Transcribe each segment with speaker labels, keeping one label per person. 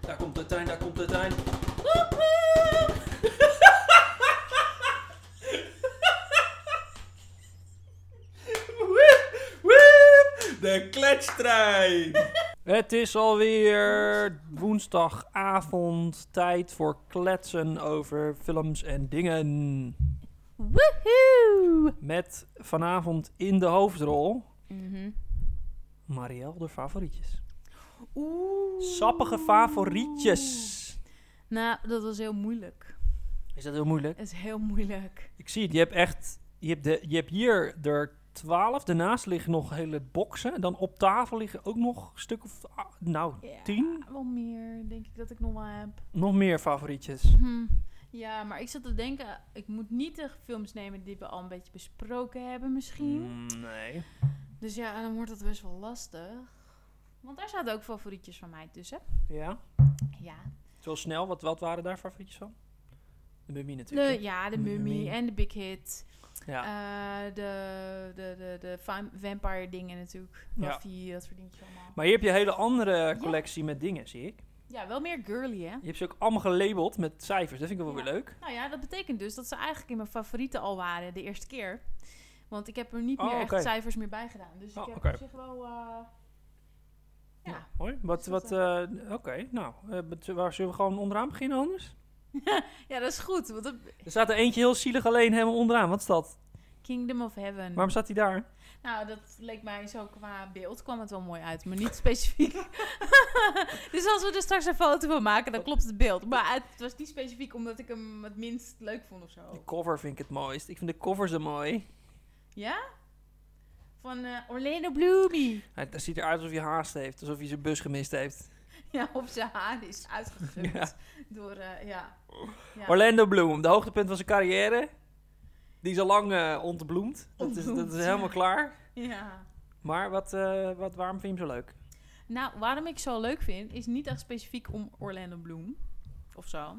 Speaker 1: Daar komt de trein, daar komt de trein.
Speaker 2: De kletstrein!
Speaker 3: Het is alweer woensdagavond. Tijd voor kletsen over films en dingen.
Speaker 4: Woehoe!
Speaker 3: Met vanavond in de hoofdrol
Speaker 4: Mhm.
Speaker 3: Marielle de favorietjes.
Speaker 4: Oeh.
Speaker 3: Sappige favorietjes.
Speaker 4: Nou, dat was heel moeilijk.
Speaker 3: Is dat heel moeilijk?
Speaker 4: Het is heel moeilijk.
Speaker 3: Ik zie het. Je hebt echt... Je hebt, de, je hebt hier er twaalf. Daarnaast liggen nog hele boksen. Dan op tafel liggen ook nog een stuk of... ah, Nou,
Speaker 4: Ja,
Speaker 3: tien?
Speaker 4: Wel meer, denk ik, dat ik nog wel heb.
Speaker 3: Nog meer favorietjes.
Speaker 4: Hm. Ja, maar ik zat te denken, ik moet niet de films nemen die we al een beetje besproken hebben misschien.
Speaker 3: Mm, Nee.
Speaker 4: Dus ja, dan wordt dat best wel lastig. Want daar zaten ook favorietjes van mij tussen.
Speaker 3: Ja.
Speaker 4: Ja,
Speaker 3: Zo snel, wat, wat waren daar favorietjes van? De mummie natuurlijk.
Speaker 4: de, ja, de
Speaker 3: De
Speaker 4: Mummy
Speaker 3: Mummy.
Speaker 4: en de Big Hit.
Speaker 3: Ja.
Speaker 4: Eh, de, de, de, de va- vampire dingen natuurlijk.
Speaker 3: Ja.
Speaker 4: Buffy, dat soort dingetjes allemaal.
Speaker 3: Maar hier heb je een hele andere collectie met dingen, zie ik.
Speaker 4: Ja, wel meer girly hè.
Speaker 3: Je hebt ze ook allemaal gelabeld met cijfers. Dat vind ik wel
Speaker 4: Ja.
Speaker 3: weer leuk.
Speaker 4: Nou ja, dat betekent dus dat ze eigenlijk in mijn favorieten al waren de eerste keer. Want ik heb er niet
Speaker 3: Oh,
Speaker 4: meer
Speaker 3: oké.
Speaker 4: echt cijfers meer bij gedaan. Dus
Speaker 3: Oh,
Speaker 4: ik heb
Speaker 3: oké.
Speaker 4: op zich wel... eh, ja.
Speaker 3: Hoi. Wat,
Speaker 4: Dus dat,
Speaker 3: wat, eh, Oké, nou. eh, bet- waar zullen we gewoon onderaan beginnen anders?
Speaker 4: ja, dat is goed. Want dat-
Speaker 3: Er staat er eentje heel zielig alleen helemaal onderaan. Wat is dat?
Speaker 4: Kingdom of Heaven.
Speaker 3: Waarom staat hij daar?
Speaker 4: Nou, dat leek mij zo qua beeld kwam het wel mooi uit, maar niet specifiek. dus als we er straks een foto van maken, dan klopt het beeld. Maar het was niet specifiek omdat ik hem het minst leuk vond of
Speaker 3: De
Speaker 4: zo.
Speaker 3: cover vind ik het mooist. Ik vind de cover zo mooi.
Speaker 4: Ja? Van eh, Orlando Bloomy.
Speaker 3: Hij, hij ziet eruit alsof hij haast heeft. Alsof hij zijn bus gemist heeft.
Speaker 4: Ja, op zijn haar is uitgegumd
Speaker 3: Ja. Oh.
Speaker 4: door, eh, ja. ja.
Speaker 3: Orlando Bloom. De hoogtepunt van zijn carrière. Die is al lang eh, ontbloemd. Dat is, dat
Speaker 4: Ontbloemd,
Speaker 3: is
Speaker 4: ja.
Speaker 3: helemaal klaar.
Speaker 4: ja.
Speaker 3: Maar wat, eh, wat, waarom vind je hem zo leuk?
Speaker 4: Nou, waarom ik zo leuk vind, is niet echt specifiek om Orlando Bloom of zo.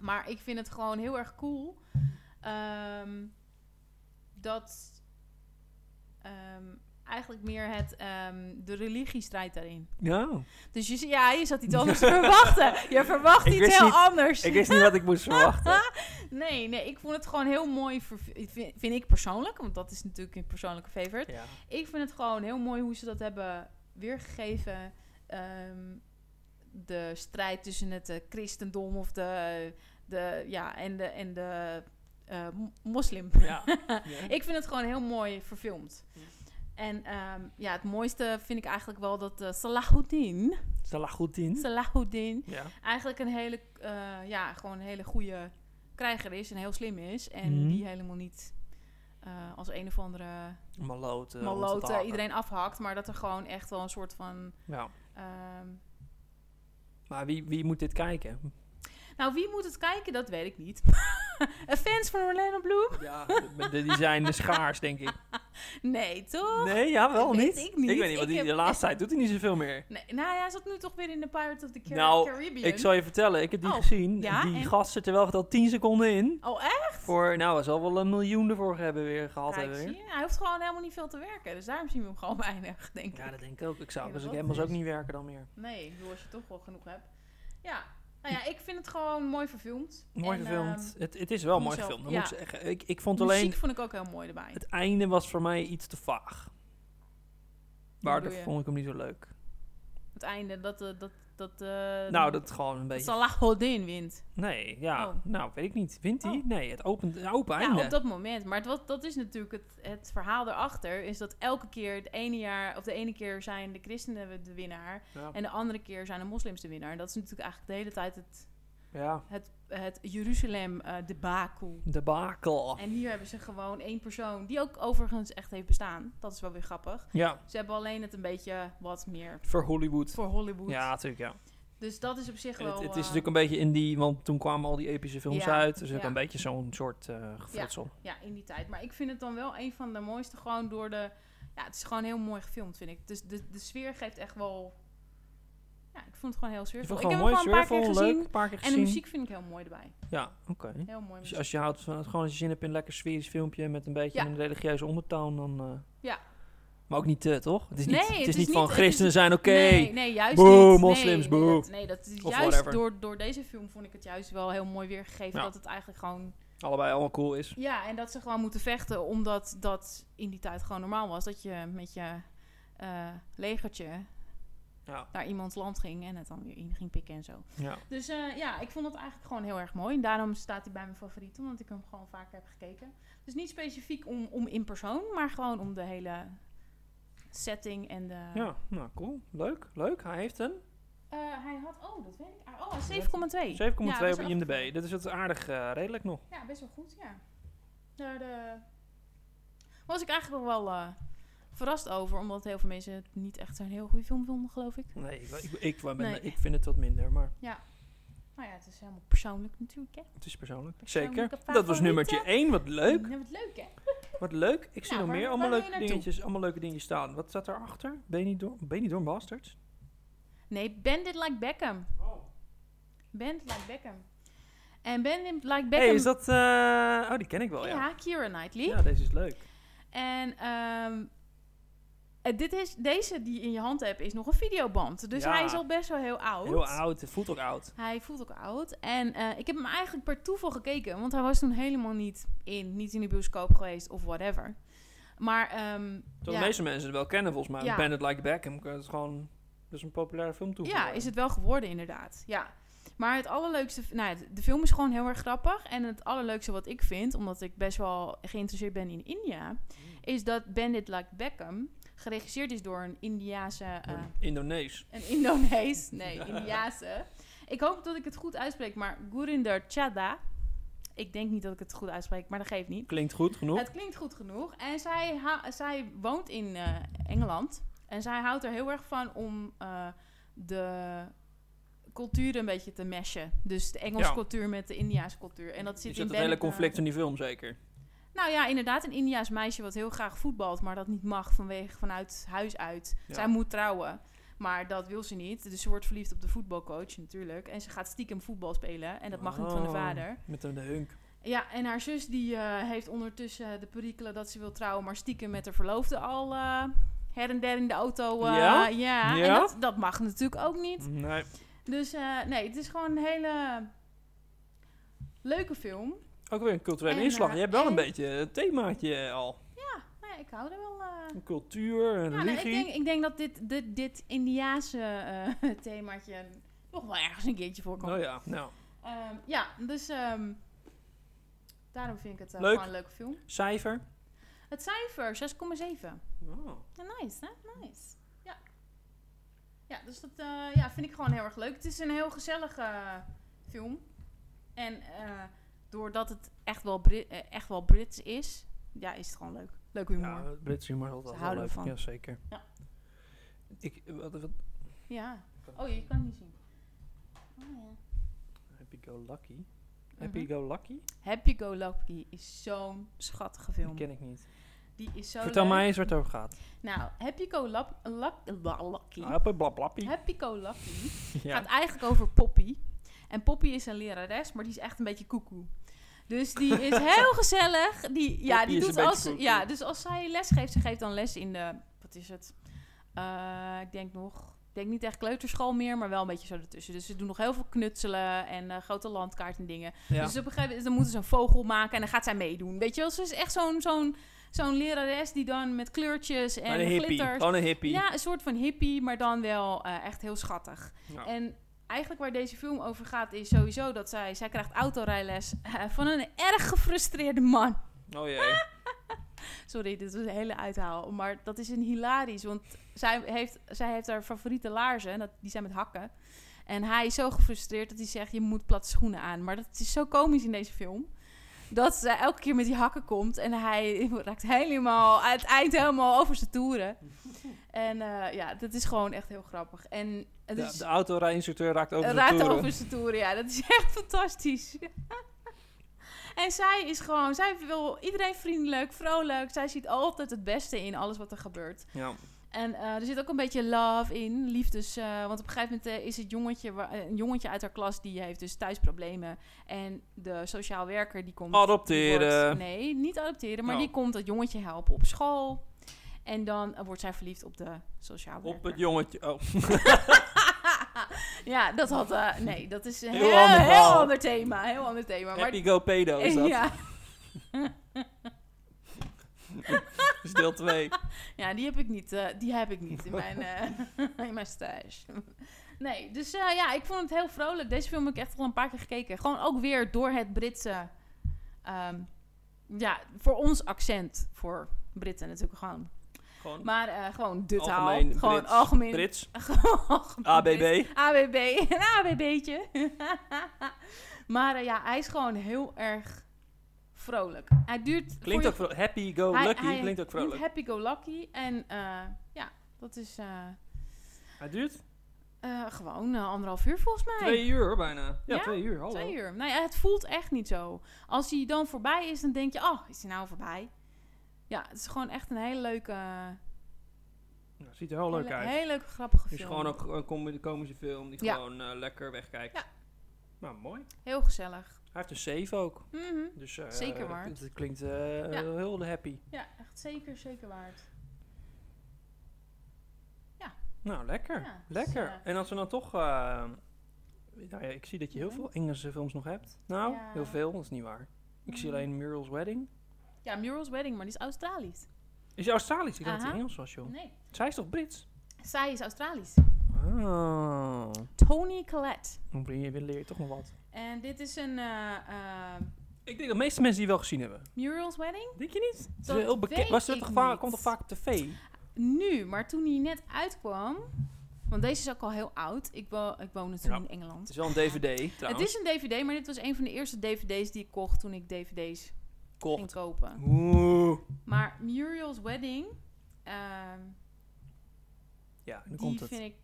Speaker 4: Maar ik vind het gewoon heel erg cool ehm, dat ehm, eigenlijk meer het, ehm, de religiestrijd daarin.
Speaker 3: Ja.
Speaker 4: Dus je, zie- ja, je zat iets anders te verwachten. Je verwacht
Speaker 3: Ik
Speaker 4: iets
Speaker 3: wist
Speaker 4: heel
Speaker 3: niet-
Speaker 4: anders.
Speaker 3: Ik wist niet wat ik moest verwachten.
Speaker 4: Nee, nee, ik vond het gewoon heel mooi, ver- vind, vind ik persoonlijk, want dat is natuurlijk een persoonlijke favorite.
Speaker 3: Ja.
Speaker 4: Ik vind het gewoon heel mooi hoe ze dat hebben weergegeven. Ehm, de strijd tussen het eh, christendom of de, de, ja, en de, en de eh, mo- moslim.
Speaker 3: Ja.
Speaker 4: Ik vind het gewoon heel mooi verfilmd. En ehm, ja, het mooiste vind ik eigenlijk wel dat eh, Salahuddin,
Speaker 3: Salah goed in.
Speaker 4: Salahuddin
Speaker 3: Ja.
Speaker 4: eigenlijk een hele, eh, ja, gewoon een hele goede krijger is en heel slim is. En
Speaker 3: Mhm.
Speaker 4: die helemaal niet eh, als een of andere
Speaker 3: Maloten.
Speaker 4: maloten iedereen afhakt, maar dat er gewoon echt wel een soort van.
Speaker 3: Ja.
Speaker 4: ehm,
Speaker 3: Maar wie, wie moet dit kijken?
Speaker 4: nou, wie moet het kijken, dat weet ik niet. Een fans van Orlando Bloom?
Speaker 3: Ja, de- die zijn de schaars, denk ik.
Speaker 4: Nee, toch?
Speaker 3: Nee, ja, wel
Speaker 4: Weet
Speaker 3: niet.
Speaker 4: ik niet.
Speaker 3: Ik weet niet, want
Speaker 4: Ik
Speaker 3: die,
Speaker 4: heb-
Speaker 3: de laatste tijd doet hij niet zoveel meer.
Speaker 4: Nee, nou ja, hij zat nu toch weer in de Pirates of the Car-
Speaker 3: Nou,
Speaker 4: Caribbean.
Speaker 3: Ik zal je vertellen, ik heb die
Speaker 4: Oh,
Speaker 3: gezien.
Speaker 4: ja,
Speaker 3: die
Speaker 4: en?
Speaker 3: gast zit er wel geteld 10 seconden in.
Speaker 4: Oh, echt?
Speaker 3: Voor, nou, hij zal wel een miljoen ervoor hebben weer gehad
Speaker 4: Kijk,
Speaker 3: hebben.
Speaker 4: zie
Speaker 3: Weer.
Speaker 4: je? Hij hoeft gewoon helemaal niet veel te werken. Dus daarom zien we hem gewoon weinig, denk ik.
Speaker 3: Ja, dat denk ik ook. Ik zou
Speaker 4: Ja,
Speaker 3: dus ik
Speaker 4: dat
Speaker 3: helemaal
Speaker 4: is.
Speaker 3: ook niet werken dan meer.
Speaker 4: Nee, ik bedoel, als je toch wel genoeg hebt. Ja, nou ja, ik vind het gewoon mooi verfilmd.
Speaker 3: Mooi
Speaker 4: En,
Speaker 3: gefilmd.
Speaker 4: ehm,
Speaker 3: het, het is wel
Speaker 4: moet
Speaker 3: mooi
Speaker 4: zo-
Speaker 3: gefilmd, dat
Speaker 4: ja.
Speaker 3: moet ik zeggen. Ik, ik vond
Speaker 4: de
Speaker 3: alleen...
Speaker 4: muziek vond ik ook heel mooi erbij.
Speaker 3: Het einde was voor mij iets te vaag. Waardoor
Speaker 4: bedoel je?
Speaker 3: vond ik hem niet zo leuk.
Speaker 4: Het einde, dat... eh, dat, dat eh,
Speaker 3: nou, dat gewoon een beetje.
Speaker 4: Salahuddin wint.
Speaker 3: Nee, ja.
Speaker 4: Oh.
Speaker 3: Nou, weet ik niet. Wint hij?
Speaker 4: Oh.
Speaker 3: Nee, het opent, een open
Speaker 4: Ja,
Speaker 3: einde.
Speaker 4: op dat moment. Maar het, wat, dat is natuurlijk het, het verhaal erachter. Is dat elke keer het ene jaar, of de ene keer zijn de christenen de winnaar.
Speaker 3: Ja.
Speaker 4: En de andere keer zijn de moslims de winnaar. En dat is natuurlijk eigenlijk de hele tijd het,
Speaker 3: ja.
Speaker 4: het, het Jeruzalem eh debakel.
Speaker 3: De bakel.
Speaker 4: En hier hebben ze gewoon één persoon, die ook overigens echt heeft bestaan. Dat is wel weer grappig.
Speaker 3: Ja,
Speaker 4: Ze hebben alleen het een beetje wat meer
Speaker 3: voor Hollywood.
Speaker 4: voor Hollywood.
Speaker 3: Ja, natuurlijk, ja.
Speaker 4: Dus dat is op zich
Speaker 3: Het,
Speaker 4: wel...
Speaker 3: het is
Speaker 4: eh,
Speaker 3: natuurlijk een beetje in die... Want toen kwamen al die epische films
Speaker 4: Ja,
Speaker 3: uit. Dus ook
Speaker 4: ja.
Speaker 3: een beetje zo'n soort eh gefrotsel.
Speaker 4: ja, in die tijd. Maar ik vind het dan wel een van de mooiste, gewoon door de... Ja, het is gewoon heel mooi gefilmd, vind ik. Dus de, de sfeer geeft echt wel... Ja, ik vond het gewoon heel
Speaker 3: Ik
Speaker 4: sfeervol.
Speaker 3: vond
Speaker 4: Ik,
Speaker 3: het gewoon mooi,
Speaker 4: heb hem gewoon een paar
Speaker 3: sfeervol,
Speaker 4: keer
Speaker 3: leuk.
Speaker 4: gezien.
Speaker 3: Een paar keer
Speaker 4: En
Speaker 3: gezien.
Speaker 4: de muziek vind ik heel mooi erbij.
Speaker 3: Ja, oké.
Speaker 4: Heel mooi
Speaker 3: Dus
Speaker 4: muziek.
Speaker 3: als je houdt van het, gewoon als je zin hebt in een lekker sferisch filmpje met een beetje
Speaker 4: Ja.
Speaker 3: een religieuze ondertoon, dan... eh,
Speaker 4: Ja.
Speaker 3: Maar ook niet te, toch? Het is niet,
Speaker 4: Nee,
Speaker 3: het is
Speaker 4: het is
Speaker 3: niet
Speaker 4: niet-
Speaker 3: van
Speaker 4: het is-
Speaker 3: christenen zijn oké.
Speaker 4: Nee, nee, juist
Speaker 3: Boe,
Speaker 4: niet.
Speaker 3: moslims,
Speaker 4: nee,
Speaker 3: boe.
Speaker 4: Nee, dat, nee, dat is
Speaker 3: Of
Speaker 4: juist
Speaker 3: whatever.
Speaker 4: door, door deze film vond ik het juist wel heel mooi weergegeven.
Speaker 3: Ja.
Speaker 4: Dat het eigenlijk gewoon...
Speaker 3: Allebei allemaal cool is.
Speaker 4: Ja, en dat ze gewoon moeten vechten omdat dat in die tijd gewoon normaal was. Dat je met je eh, legertje
Speaker 3: Ja.
Speaker 4: naar iemands land ging en het dan weer in ging pikken en zo.
Speaker 3: ja.
Speaker 4: Dus eh, ja, ik vond het eigenlijk gewoon heel erg mooi. En daarom staat hij bij mijn favoriet, omdat ik hem gewoon vaker heb gekeken. Dus niet specifiek om, om in persoon, maar gewoon om de hele setting en de...
Speaker 3: Ja, nou cool. Leuk, leuk. Hij heeft een 7,2
Speaker 4: Eh, hij had... Oh, dat weet ik. Ah, Oh, een 7,2. Ja, dat is
Speaker 3: op
Speaker 4: echt-
Speaker 3: IMDb. Dat is het aardig eh, redelijk nog.
Speaker 4: Ja, best wel goed, ja. Daar de... was ik eigenlijk nog wel eh, verrast over, omdat heel veel mensen het niet echt zo'n heel goede film vonden, geloof ik.
Speaker 3: Nee, ik, ik, ik, ben-
Speaker 4: Nee.
Speaker 3: ik vind het wat minder, maar
Speaker 4: Nou ja, het is helemaal persoonlijk natuurlijk, hè.
Speaker 3: het is persoonlijk.
Speaker 4: Persoonlijke
Speaker 3: Zeker. Dat was
Speaker 4: favorieten.
Speaker 3: nummertje 1. Wat leuk.
Speaker 4: Ja, wat leuk, hè?
Speaker 3: Wat leuk. Ik zie nog
Speaker 4: Nou, waar-
Speaker 3: meer.
Speaker 4: waar
Speaker 3: Allemaal
Speaker 4: wil je
Speaker 3: leuke,
Speaker 4: naartoe?
Speaker 3: dingetjes, allemaal leuke dingen staan. Wat staat erachter? Benidorm, Benidorm Bastards?
Speaker 4: Nee, Bandit Like Beckham.
Speaker 3: Oh.
Speaker 4: Bandit Like Beckham. En Bandit Like Beckham...
Speaker 3: hey, is dat... eh, oh, die ken ik wel, ja.
Speaker 4: Ja, Keira Knightley.
Speaker 3: Ja, deze is leuk.
Speaker 4: En ehm, eh, dit is, deze die je in je hand hebt is nog een videoband. Dus
Speaker 3: Ja.
Speaker 4: hij is al best wel heel oud.
Speaker 3: Heel oud. Het voelt ook oud.
Speaker 4: Hij voelt ook oud. En eh, ik heb hem eigenlijk per toeval gekeken. Want hij was toen helemaal niet in, niet in de bioscoop geweest of whatever. Maar ehm,
Speaker 3: Dat
Speaker 4: ja,
Speaker 3: de meeste mensen het wel kennen, volgens mij.
Speaker 4: Ja.
Speaker 3: Bandit Like Beckham. Dat is gewoon... Dat is een populaire film toe.
Speaker 4: ja, is het wel geworden inderdaad. Ja. Maar het allerleukste... Nou, de film is gewoon heel erg grappig. En het allerleukste wat ik vind... omdat ik best wel geïnteresseerd ben in India... is dat Bandit Like Beckham... geregisseerd is door een Indiase... eh,
Speaker 3: Indonees.
Speaker 4: Een Indonees. Nee, Indiase. Ik hoop dat ik het goed uitspreek, maar Gurinder Chadha. Ik denk niet dat ik het goed uitspreek, maar dat geeft niet.
Speaker 3: Klinkt goed genoeg.
Speaker 4: Het klinkt goed genoeg. En zij, ha- zij woont in eh, Engeland. En zij houdt er heel erg van om eh, de cultuur een beetje te meshen. Dus de Engelse
Speaker 3: Ja.
Speaker 4: cultuur met de Indiaanse cultuur. En dat
Speaker 3: Dus Je zit
Speaker 4: zit in
Speaker 3: het hele
Speaker 4: Bennet-
Speaker 3: conflict in die film, zeker.
Speaker 4: nou ja, inderdaad, een Indiaas meisje wat heel graag voetbalt, maar dat niet mag vanwege vanuit huis uit.
Speaker 3: Ja.
Speaker 4: Zij moet trouwen, maar dat wil ze niet. Dus ze wordt verliefd op de voetbalcoach natuurlijk. En ze gaat stiekem voetbal spelen en dat mag niet van de
Speaker 3: Oh,
Speaker 4: vader.
Speaker 3: Met een hunk.
Speaker 4: Ja, en haar zus die eh, heeft ondertussen de perikelen dat ze wil trouwen, maar stiekem met haar verloofde al eh, her en der in de auto. eh,
Speaker 3: Ja?
Speaker 4: ja? en
Speaker 3: Ja?
Speaker 4: dat, dat mag natuurlijk ook niet.
Speaker 3: Nee.
Speaker 4: Dus eh, nee, het is gewoon een hele leuke film.
Speaker 3: Ook weer een culturele
Speaker 4: En,
Speaker 3: inslag.
Speaker 4: eh,
Speaker 3: Je hebt wel een
Speaker 4: en-
Speaker 3: beetje een themaatje al.
Speaker 4: Nou ja, ik hou er wel... eh,
Speaker 3: Een cultuur, een
Speaker 4: Ja, nou, ik,
Speaker 3: religie.
Speaker 4: denk, ik denk dat dit, dit, dit Indiaanse eh, themaatje nog wel ergens een keertje voorkomt.
Speaker 3: Nou ja, nou.
Speaker 4: Ehm, ja, dus ehm, daarom vind ik het eh,
Speaker 3: Leuk.
Speaker 4: gewoon een leuke film.
Speaker 3: Cijfer.
Speaker 4: Het cijfer 6,7.
Speaker 3: Oh.
Speaker 4: Ja, nice, hè? Nice. Ja. Ja, dus dat eh, ja, vind ik gewoon heel erg leuk. Het is een heel gezellige eh, film. En eh, doordat het echt wel, Bri- eh, echt wel Brits is, ja, is het gewoon leuk. Leuk humor.
Speaker 3: Ja, Brits humor is altijd
Speaker 4: Ze
Speaker 3: wel
Speaker 4: houden
Speaker 3: leuk.
Speaker 4: ervan.
Speaker 3: Ja, zeker.
Speaker 4: Ja.
Speaker 3: Ik, wat, wat,
Speaker 4: Ja. Oh, je kan het niet zien. Oh, ja.
Speaker 3: happy Go Lucky. Happy
Speaker 4: Mhm.
Speaker 3: Go Lucky?
Speaker 4: Happy Go Lucky is zo'n schattige
Speaker 3: Die
Speaker 4: film.
Speaker 3: ken ik niet.
Speaker 4: Die is zo
Speaker 3: Vertel
Speaker 4: leuk.
Speaker 3: mij eens waar het over gaat.
Speaker 4: Nou, Happy Go Lap- Lap- Lap- Lucky.
Speaker 3: Happy Blablappie.
Speaker 4: Happy Go Lucky
Speaker 3: Ja.
Speaker 4: gaat eigenlijk over Poppy. En Poppy is een lerares, maar die is echt een beetje koekoe. Dus die is heel gezellig. Die, ja,
Speaker 3: Poppy
Speaker 4: die
Speaker 3: is
Speaker 4: doet
Speaker 3: een beetje
Speaker 4: als,
Speaker 3: koekoe.
Speaker 4: ja, dus als zij les geeft, ze geeft dan les in de... Wat is het? Eh, ik denk nog... Ik denk niet echt kleuterschool meer, maar wel een beetje zo ertussen. Dus ze doen nog heel veel knutselen en eh, grote landkaarten en dingen.
Speaker 3: Ja.
Speaker 4: Dus op een gegeven moment dan moeten ze een vogel maken en dan gaat zij meedoen. Weet je wel, ze is echt zo'n zo'n zo'n lerares die dan met kleurtjes en
Speaker 3: Maar een hippie.
Speaker 4: eh, glitters.
Speaker 3: Gewoon een hippie.
Speaker 4: Ja, een soort van hippie, maar dan wel eh, echt heel schattig.
Speaker 3: Ja.
Speaker 4: En eigenlijk waar deze film over gaat is sowieso dat zij, zij krijgt autorijles eh, van een erg gefrustreerde man.
Speaker 3: Oh jee.
Speaker 4: Sorry, dit was een hele uithaal. Maar dat is een hilarisch, want zij heeft, zij heeft haar favoriete laarzen, en dat, die zijn met hakken. En hij is zo gefrustreerd dat hij zegt, je moet platte schoenen aan. Maar dat is zo komisch in deze film. Dat ze elke keer met die hakken komt en hij raakt helemaal, aan het eind helemaal over zijn toeren. En eh, ja, dat is gewoon echt heel grappig. En het
Speaker 3: De,
Speaker 4: is,
Speaker 3: de autorijinstructeur raakt over de
Speaker 4: Dus raakt
Speaker 3: toeren.
Speaker 4: over zijn toeren, ja. Dat is echt fantastisch. en zij is gewoon, zij wil iedereen vriendelijk, vrolijk. Zij ziet altijd het beste in alles wat er gebeurt.
Speaker 3: Ja.
Speaker 4: En eh, er zit ook een beetje love in, liefdes. eh, want op een gegeven moment eh, is het jongetje, wa- eh, een jongetje uit haar klas die heeft dus thuisproblemen. En de sociaal werker die komt. die
Speaker 3: Adopteren.
Speaker 4: wordt- nee, niet adopteren, maar
Speaker 3: Oh.
Speaker 4: die komt dat jongetje helpen op school. En dan eh, wordt zij verliefd op de sociaal
Speaker 3: Op
Speaker 4: werker.
Speaker 3: het jongetje. Oh.
Speaker 4: ja, dat had... eh, nee, dat is een
Speaker 3: Heel
Speaker 4: heel, heel,
Speaker 3: ander
Speaker 4: ander,
Speaker 3: verhaal.
Speaker 4: thema. Heel ander thema. Maar,
Speaker 3: Happy Go Pedo is dat.
Speaker 4: ja,
Speaker 3: Dat is deel 2.
Speaker 4: ja, die heb ik niet. eh, die heb ik niet in mijn, eh, in mijn stage. Nee, dus eh, ja, ik vond het heel vrolijk. Deze film heb ik echt al een paar keer gekeken. Gewoon ook weer door het Britse... ehm, ja, voor ons accent. Voor Britten natuurlijk gewoon.
Speaker 3: Gewoon
Speaker 4: Maar eh, gewoon de taal.
Speaker 3: algemeen
Speaker 4: gewoon
Speaker 3: Brits.
Speaker 4: algemeen.
Speaker 3: Brits.
Speaker 4: Algemeen Brits.
Speaker 3: ABB.
Speaker 4: ABB, een ABB'tje. maar eh, ja, hij is gewoon heel erg vrolijk. Hij duurt... voor
Speaker 3: Klinkt
Speaker 4: je-
Speaker 3: ook vrolijk. Happy Go
Speaker 4: hij-
Speaker 3: Lucky
Speaker 4: hij
Speaker 3: klinkt ook vrolijk.
Speaker 4: Happy-go-lucky. En eh, ja, dat is eh,
Speaker 3: Hij duurt
Speaker 4: eh, gewoon eh, anderhalf uur volgens mij.
Speaker 3: twee uur hoor, bijna. Ja,
Speaker 4: Ja?
Speaker 3: twee uur. Hallo.
Speaker 4: Twee uur. Nou ja, het voelt echt niet zo. Als hij dan voorbij is, dan denk je... Oh, is hij nou voorbij? Ja, het is gewoon echt een hele leuke...
Speaker 3: Ja, ziet er heel leuk
Speaker 4: hele,
Speaker 3: uit.
Speaker 4: hele leuke, grappige
Speaker 3: Het
Speaker 4: film.
Speaker 3: is gewoon ook een com- komische film die
Speaker 4: Ja.
Speaker 3: gewoon eh, lekker wegkijkt.
Speaker 4: Ja.
Speaker 3: Nou, mooi.
Speaker 4: Heel gezellig.
Speaker 3: Hij heeft een 7 ook.
Speaker 4: Mhm.
Speaker 3: Dus, eh,
Speaker 4: Zeker waard.
Speaker 3: Het, het klinkt eh,
Speaker 4: Ja.
Speaker 3: heel happy.
Speaker 4: Ja, echt zeker, zeker waard.
Speaker 3: Nou, lekker.
Speaker 4: Ja, dus,
Speaker 3: lekker.
Speaker 4: eh,
Speaker 3: en als we dan toch... eh, nou ja, ik zie dat je heel
Speaker 4: Ja.
Speaker 3: veel Engelse films nog hebt. Nou,
Speaker 4: Ja.
Speaker 3: heel veel. Dat is niet waar. Ik zie
Speaker 4: Mm.
Speaker 3: alleen Muriel's Wedding.
Speaker 4: Ja, Mural's Wedding, maar die is Australisch.
Speaker 3: Is je Australisch? Ik dacht dat het
Speaker 4: Aha.
Speaker 3: Engels was, joh.
Speaker 4: Nee,
Speaker 3: Zij is toch Brits?
Speaker 4: zij is Australisch.
Speaker 3: Ah.
Speaker 4: Tony Collette.
Speaker 3: Dan leer je- leer je toch nog wat.
Speaker 4: En dit is een eh, eh,
Speaker 3: Ik denk dat de meeste mensen die wel gezien hebben.
Speaker 4: Mural's Wedding.
Speaker 3: Denk je niet? Het is
Speaker 4: Dat
Speaker 3: heel bekend.
Speaker 4: weet
Speaker 3: Was het
Speaker 4: ik
Speaker 3: toch vaak,
Speaker 4: niet.
Speaker 3: komt toch vaak op tv?
Speaker 4: Nu, maar toen die net uitkwam... Want deze is ook al heel oud. Ik, wo ik woonde toen
Speaker 3: Ja.
Speaker 4: in
Speaker 3: Het
Speaker 4: Engeland.
Speaker 3: is wel een DVD,
Speaker 4: Het
Speaker 3: trouwens.
Speaker 4: is een dvd, maar dit was een van de eerste dvd's die ik kocht toen ik dvd's ging
Speaker 3: Kocht.
Speaker 4: kopen.
Speaker 3: Oeh.
Speaker 4: Maar Muriel's Wedding... ehm,
Speaker 3: Ja, nu
Speaker 4: die
Speaker 3: komt het.
Speaker 4: vind ik...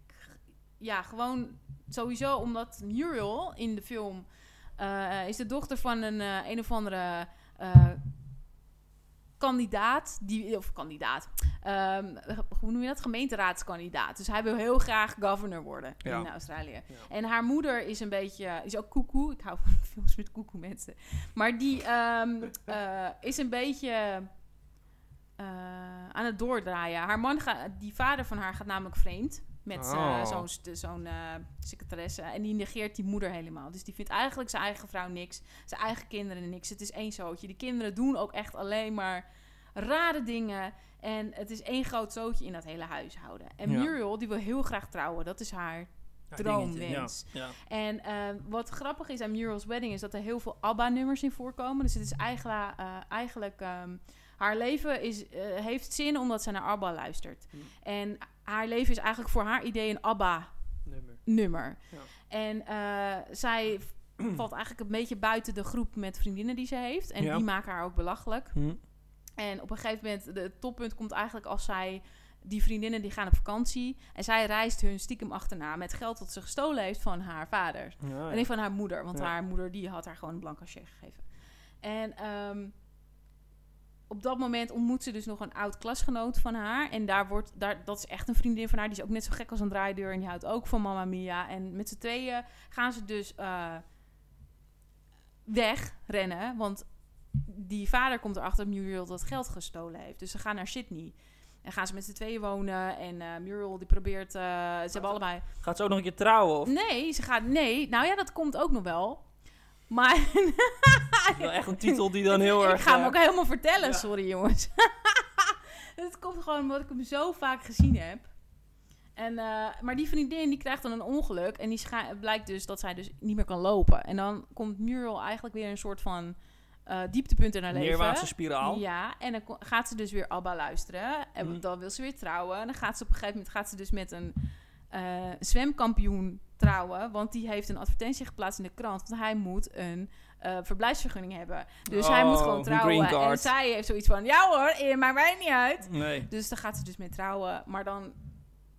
Speaker 4: Ja, gewoon sowieso omdat Muriel in de film... eh, is de dochter van een eh, een of andere eh, kandidaat. Die, of kandidaat. ehm, hoe noem je dat? Gemeenteraadskandidaat. Dus hij wil heel graag governor worden
Speaker 3: Ja.
Speaker 4: in Australië.
Speaker 3: Ja.
Speaker 4: En haar moeder is een beetje... Is ook koekoe. Ik hou van films met koekoe mensen. Maar die ehm, eh, is een beetje... eh, aan het doordraaien. Haar man, gaat, die vader van haar, gaat namelijk vreemd met eh,
Speaker 3: Oh.
Speaker 4: zo'n st- zo'n eh, secretaresse. En die negeert die moeder helemaal. Dus die vindt eigenlijk zijn eigen vrouw niks, zijn eigen kinderen niks. Het is één zootje. Die kinderen doen ook echt alleen maar rare dingen. En het is één groot zootje in dat hele huishouden. En
Speaker 3: Ja.
Speaker 4: Muriel, die wil heel graag trouwen. Dat is haar
Speaker 3: Ja,
Speaker 4: droomwens.
Speaker 3: dingetje, Ja. Ja.
Speaker 4: En ehm, wat grappig is aan Muriel's Wedding is dat er heel veel ABBA-nummers in voorkomen. Dus het is eigenlijk, eh, eigenlijk ehm, haar leven is, eh, heeft zin omdat ze naar ABBA luistert.
Speaker 3: Hm.
Speaker 4: En haar leven is eigenlijk voor haar idee een ABBA-nummer.
Speaker 3: Nummer. Ja.
Speaker 4: En eh, zij valt eigenlijk een beetje buiten de groep met vriendinnen die ze heeft. En
Speaker 3: Ja.
Speaker 4: die maken haar ook belachelijk.
Speaker 3: Hm.
Speaker 4: En op een gegeven moment, de- het toppunt komt eigenlijk als zij... Die vriendinnen die gaan op vakantie. En zij reist hun stiekem achterna met geld dat ze gestolen heeft van haar vader.
Speaker 3: Ja,
Speaker 4: En
Speaker 3: Oh, ja.
Speaker 4: nee, van haar moeder. Want
Speaker 3: Ja.
Speaker 4: haar moeder die had haar gewoon een blank cachet gegeven. En ehm, op dat moment ontmoet ze dus nog een oud klasgenoot van haar. En daar wordt, daar, dat is echt een vriendin van haar. Die is ook net zo gek als een draaideur. En die houdt ook van Mamma Mia. En met z'n tweeën gaan ze dus eh, weg rennen. Want die vader komt erachter dat Muriel dat geld gestolen heeft. Dus ze gaan naar Sydney. En gaan ze met z'n tweeën wonen. En eh, Muriel die probeert... eh, ze hebben allebei...
Speaker 3: Gaat ze ook nog een keer trouwen? Of
Speaker 4: Nee, ze gaat. Nee, nou ja, dat komt ook nog wel. Maar
Speaker 3: wel echt een titel die dan heel erg...
Speaker 4: ik ga hem
Speaker 3: eh,
Speaker 4: ook helemaal vertellen,
Speaker 3: ja.
Speaker 4: sorry jongens. Het komt gewoon omdat ik hem zo vaak gezien heb. En, eh, maar die vriendin die krijgt dan een ongeluk en die scha- blijkt dus dat zij dus niet meer kan lopen. En dan komt Muriel eigenlijk weer een soort van eh, dieptepunt in haar leven.
Speaker 3: neerwaartse spiraal.
Speaker 4: Ja, en dan ko- gaat ze dus weer ABBA luisteren. En
Speaker 3: Mm.
Speaker 4: dan wil ze weer trouwen. En dan gaat ze op een gegeven moment gaat ze dus met een eh, zwemkampioen trouwen. Want die heeft een advertentie geplaatst in de krant. Want hij moet een eh, verblijfsvergunning hebben. Dus hij moet
Speaker 3: Oh,
Speaker 4: gewoon
Speaker 3: een
Speaker 4: trouwen.
Speaker 3: green card.
Speaker 4: En zij heeft zoiets van, ja hoor, eh, maakt mij niet uit.
Speaker 3: Nee, het
Speaker 4: Dus dan gaat ze dus mee trouwen. Maar dan,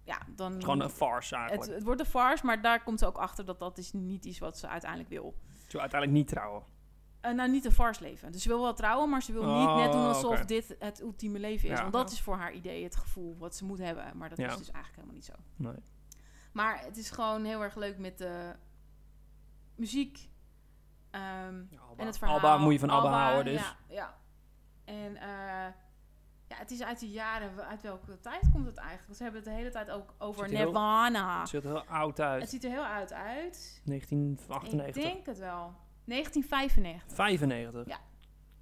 Speaker 4: ja, dan...
Speaker 3: is gewoon een farce
Speaker 4: het,
Speaker 3: eigenlijk.
Speaker 4: het wordt een farce, maar daar komt ze ook achter dat dat is niet iets wat ze uiteindelijk wil.
Speaker 3: Ze wil uiteindelijk niet trouwen.
Speaker 4: Eh, nou, niet een vars leven. Dus ze wil wel trouwen, maar ze wil
Speaker 3: Oh,
Speaker 4: niet net doen alsof
Speaker 3: oké.
Speaker 4: dit het ultieme leven is.
Speaker 3: Ja.
Speaker 4: Want dat is voor haar idee het gevoel wat ze moet hebben. Maar dat
Speaker 3: Ja.
Speaker 4: is dus eigenlijk helemaal niet zo.
Speaker 3: Nee.
Speaker 4: Maar het is gewoon heel erg leuk met de muziek. ehm, en het verhaal.
Speaker 3: dus. Alba moet je van Abba, houden, dus.
Speaker 4: Ja, ja. En eh, Ja, het is uit de jaren, uit welke tijd komt het eigenlijk? Ze hebben het de hele tijd ook over
Speaker 3: Ziet er heel-
Speaker 4: Nirvana.
Speaker 3: Het ziet er heel oud uit.
Speaker 4: Het ziet er heel oud uit. Ik
Speaker 3: 1998.
Speaker 4: denk het wel. 1995.
Speaker 3: 95.
Speaker 4: Ja.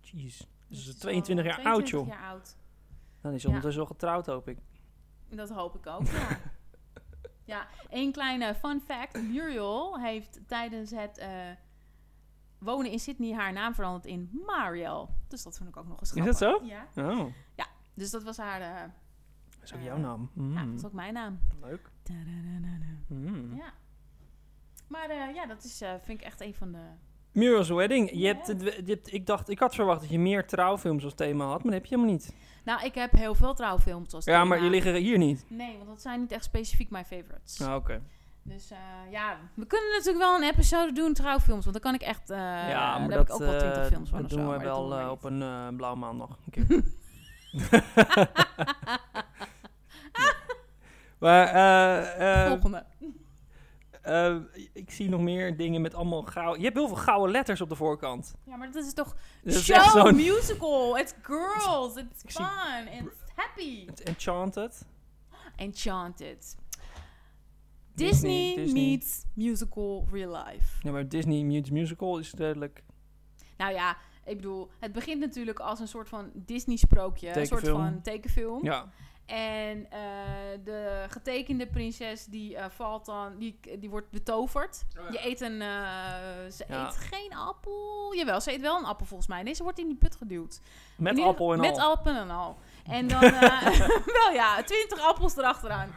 Speaker 3: Jeez. Dat
Speaker 4: Dus
Speaker 3: is
Speaker 4: het al
Speaker 3: 22 jaar oud, joh.
Speaker 4: 22 jaar oud.
Speaker 3: Dan is ze
Speaker 4: Ja. Oh,
Speaker 3: ondertussen al getrouwd, hoop ik.
Speaker 4: Dat hoop ik ook, ja. ja, één kleine fun fact. Muriel heeft tijdens het eh, wonen in Sydney haar naam veranderd in Mariel. Dus dat vond ik ook nog eens
Speaker 3: Is dat
Speaker 4: grappig.
Speaker 3: zo?
Speaker 4: Ja.
Speaker 3: Oh,
Speaker 4: Dus dat was haar... eh,
Speaker 3: dat is ook
Speaker 4: Eh,
Speaker 3: jouw naam.
Speaker 4: Ja,
Speaker 3: Mm.
Speaker 4: dat is ook mijn naam.
Speaker 3: Leuk.
Speaker 4: Ta-da-da-da-da.
Speaker 3: Mm.
Speaker 4: Ja. Maar eh, ja, dat is, eh, vind ik echt een van de...
Speaker 3: Muriel's Wedding. Je
Speaker 4: Ja.
Speaker 3: hebt, het- je hebt, ik, dacht, ik had verwacht dat je meer trouwfilms als thema had, maar dat heb je helemaal niet.
Speaker 4: Nou, ik heb heel veel trouwfilms als
Speaker 3: Ja, maar
Speaker 4: thema.
Speaker 3: die liggen hier niet.
Speaker 4: Nee, want dat zijn niet echt specifiek mijn favorites.
Speaker 3: Ah, oké.
Speaker 4: Dus eh, ja, we kunnen natuurlijk wel een episode doen trouwfilms. Want dan kan ik echt... eh
Speaker 3: ja, maar
Speaker 4: daar
Speaker 3: dat,
Speaker 4: heb ik ook wel twintig
Speaker 3: eh,
Speaker 4: films van
Speaker 3: dat
Speaker 4: of
Speaker 3: doen
Speaker 4: zo,
Speaker 3: we
Speaker 4: maar dat
Speaker 3: wel
Speaker 4: doen we
Speaker 3: eh,
Speaker 4: niet.
Speaker 3: op een eh blauwe maandag een keer. Ja. Maar eh, eh,
Speaker 4: Volgende.
Speaker 3: eh, ik zie nog meer dingen met allemaal gouden... Je hebt heel veel gouden letters op de voorkant. Dus
Speaker 4: Ja, maar dat is toch...
Speaker 3: Dat is echt
Speaker 4: show,
Speaker 3: zo'n-
Speaker 4: musical, it's girls, it's
Speaker 3: Ik zie-
Speaker 4: fun, it's happy.
Speaker 3: Het Enchanted.
Speaker 4: Enchanted.
Speaker 3: Disney,
Speaker 4: Disney,
Speaker 3: Disney.
Speaker 4: meets musical real life.
Speaker 3: Ja, maar Disney Mutes Musical is duidelijk...
Speaker 4: Nou ja, ik bedoel, het begint natuurlijk als een soort van Disney-sprookje. Een soort
Speaker 3: Tekenfilm.
Speaker 4: van tekenfilm.
Speaker 3: Ja,
Speaker 4: En eh, de getekende prinses, die eh, valt dan, die, die wordt betoverd. Je eet een, eh, ze
Speaker 3: Ja.
Speaker 4: eet geen appel. Jawel, ze eet wel een appel volgens mij. Nee, ze wordt in die put geduwd.
Speaker 3: met
Speaker 4: In ieder-
Speaker 3: appel en
Speaker 4: met
Speaker 3: al.
Speaker 4: appel en al. En dan, eh, wel ja, twintig appels erachteraan.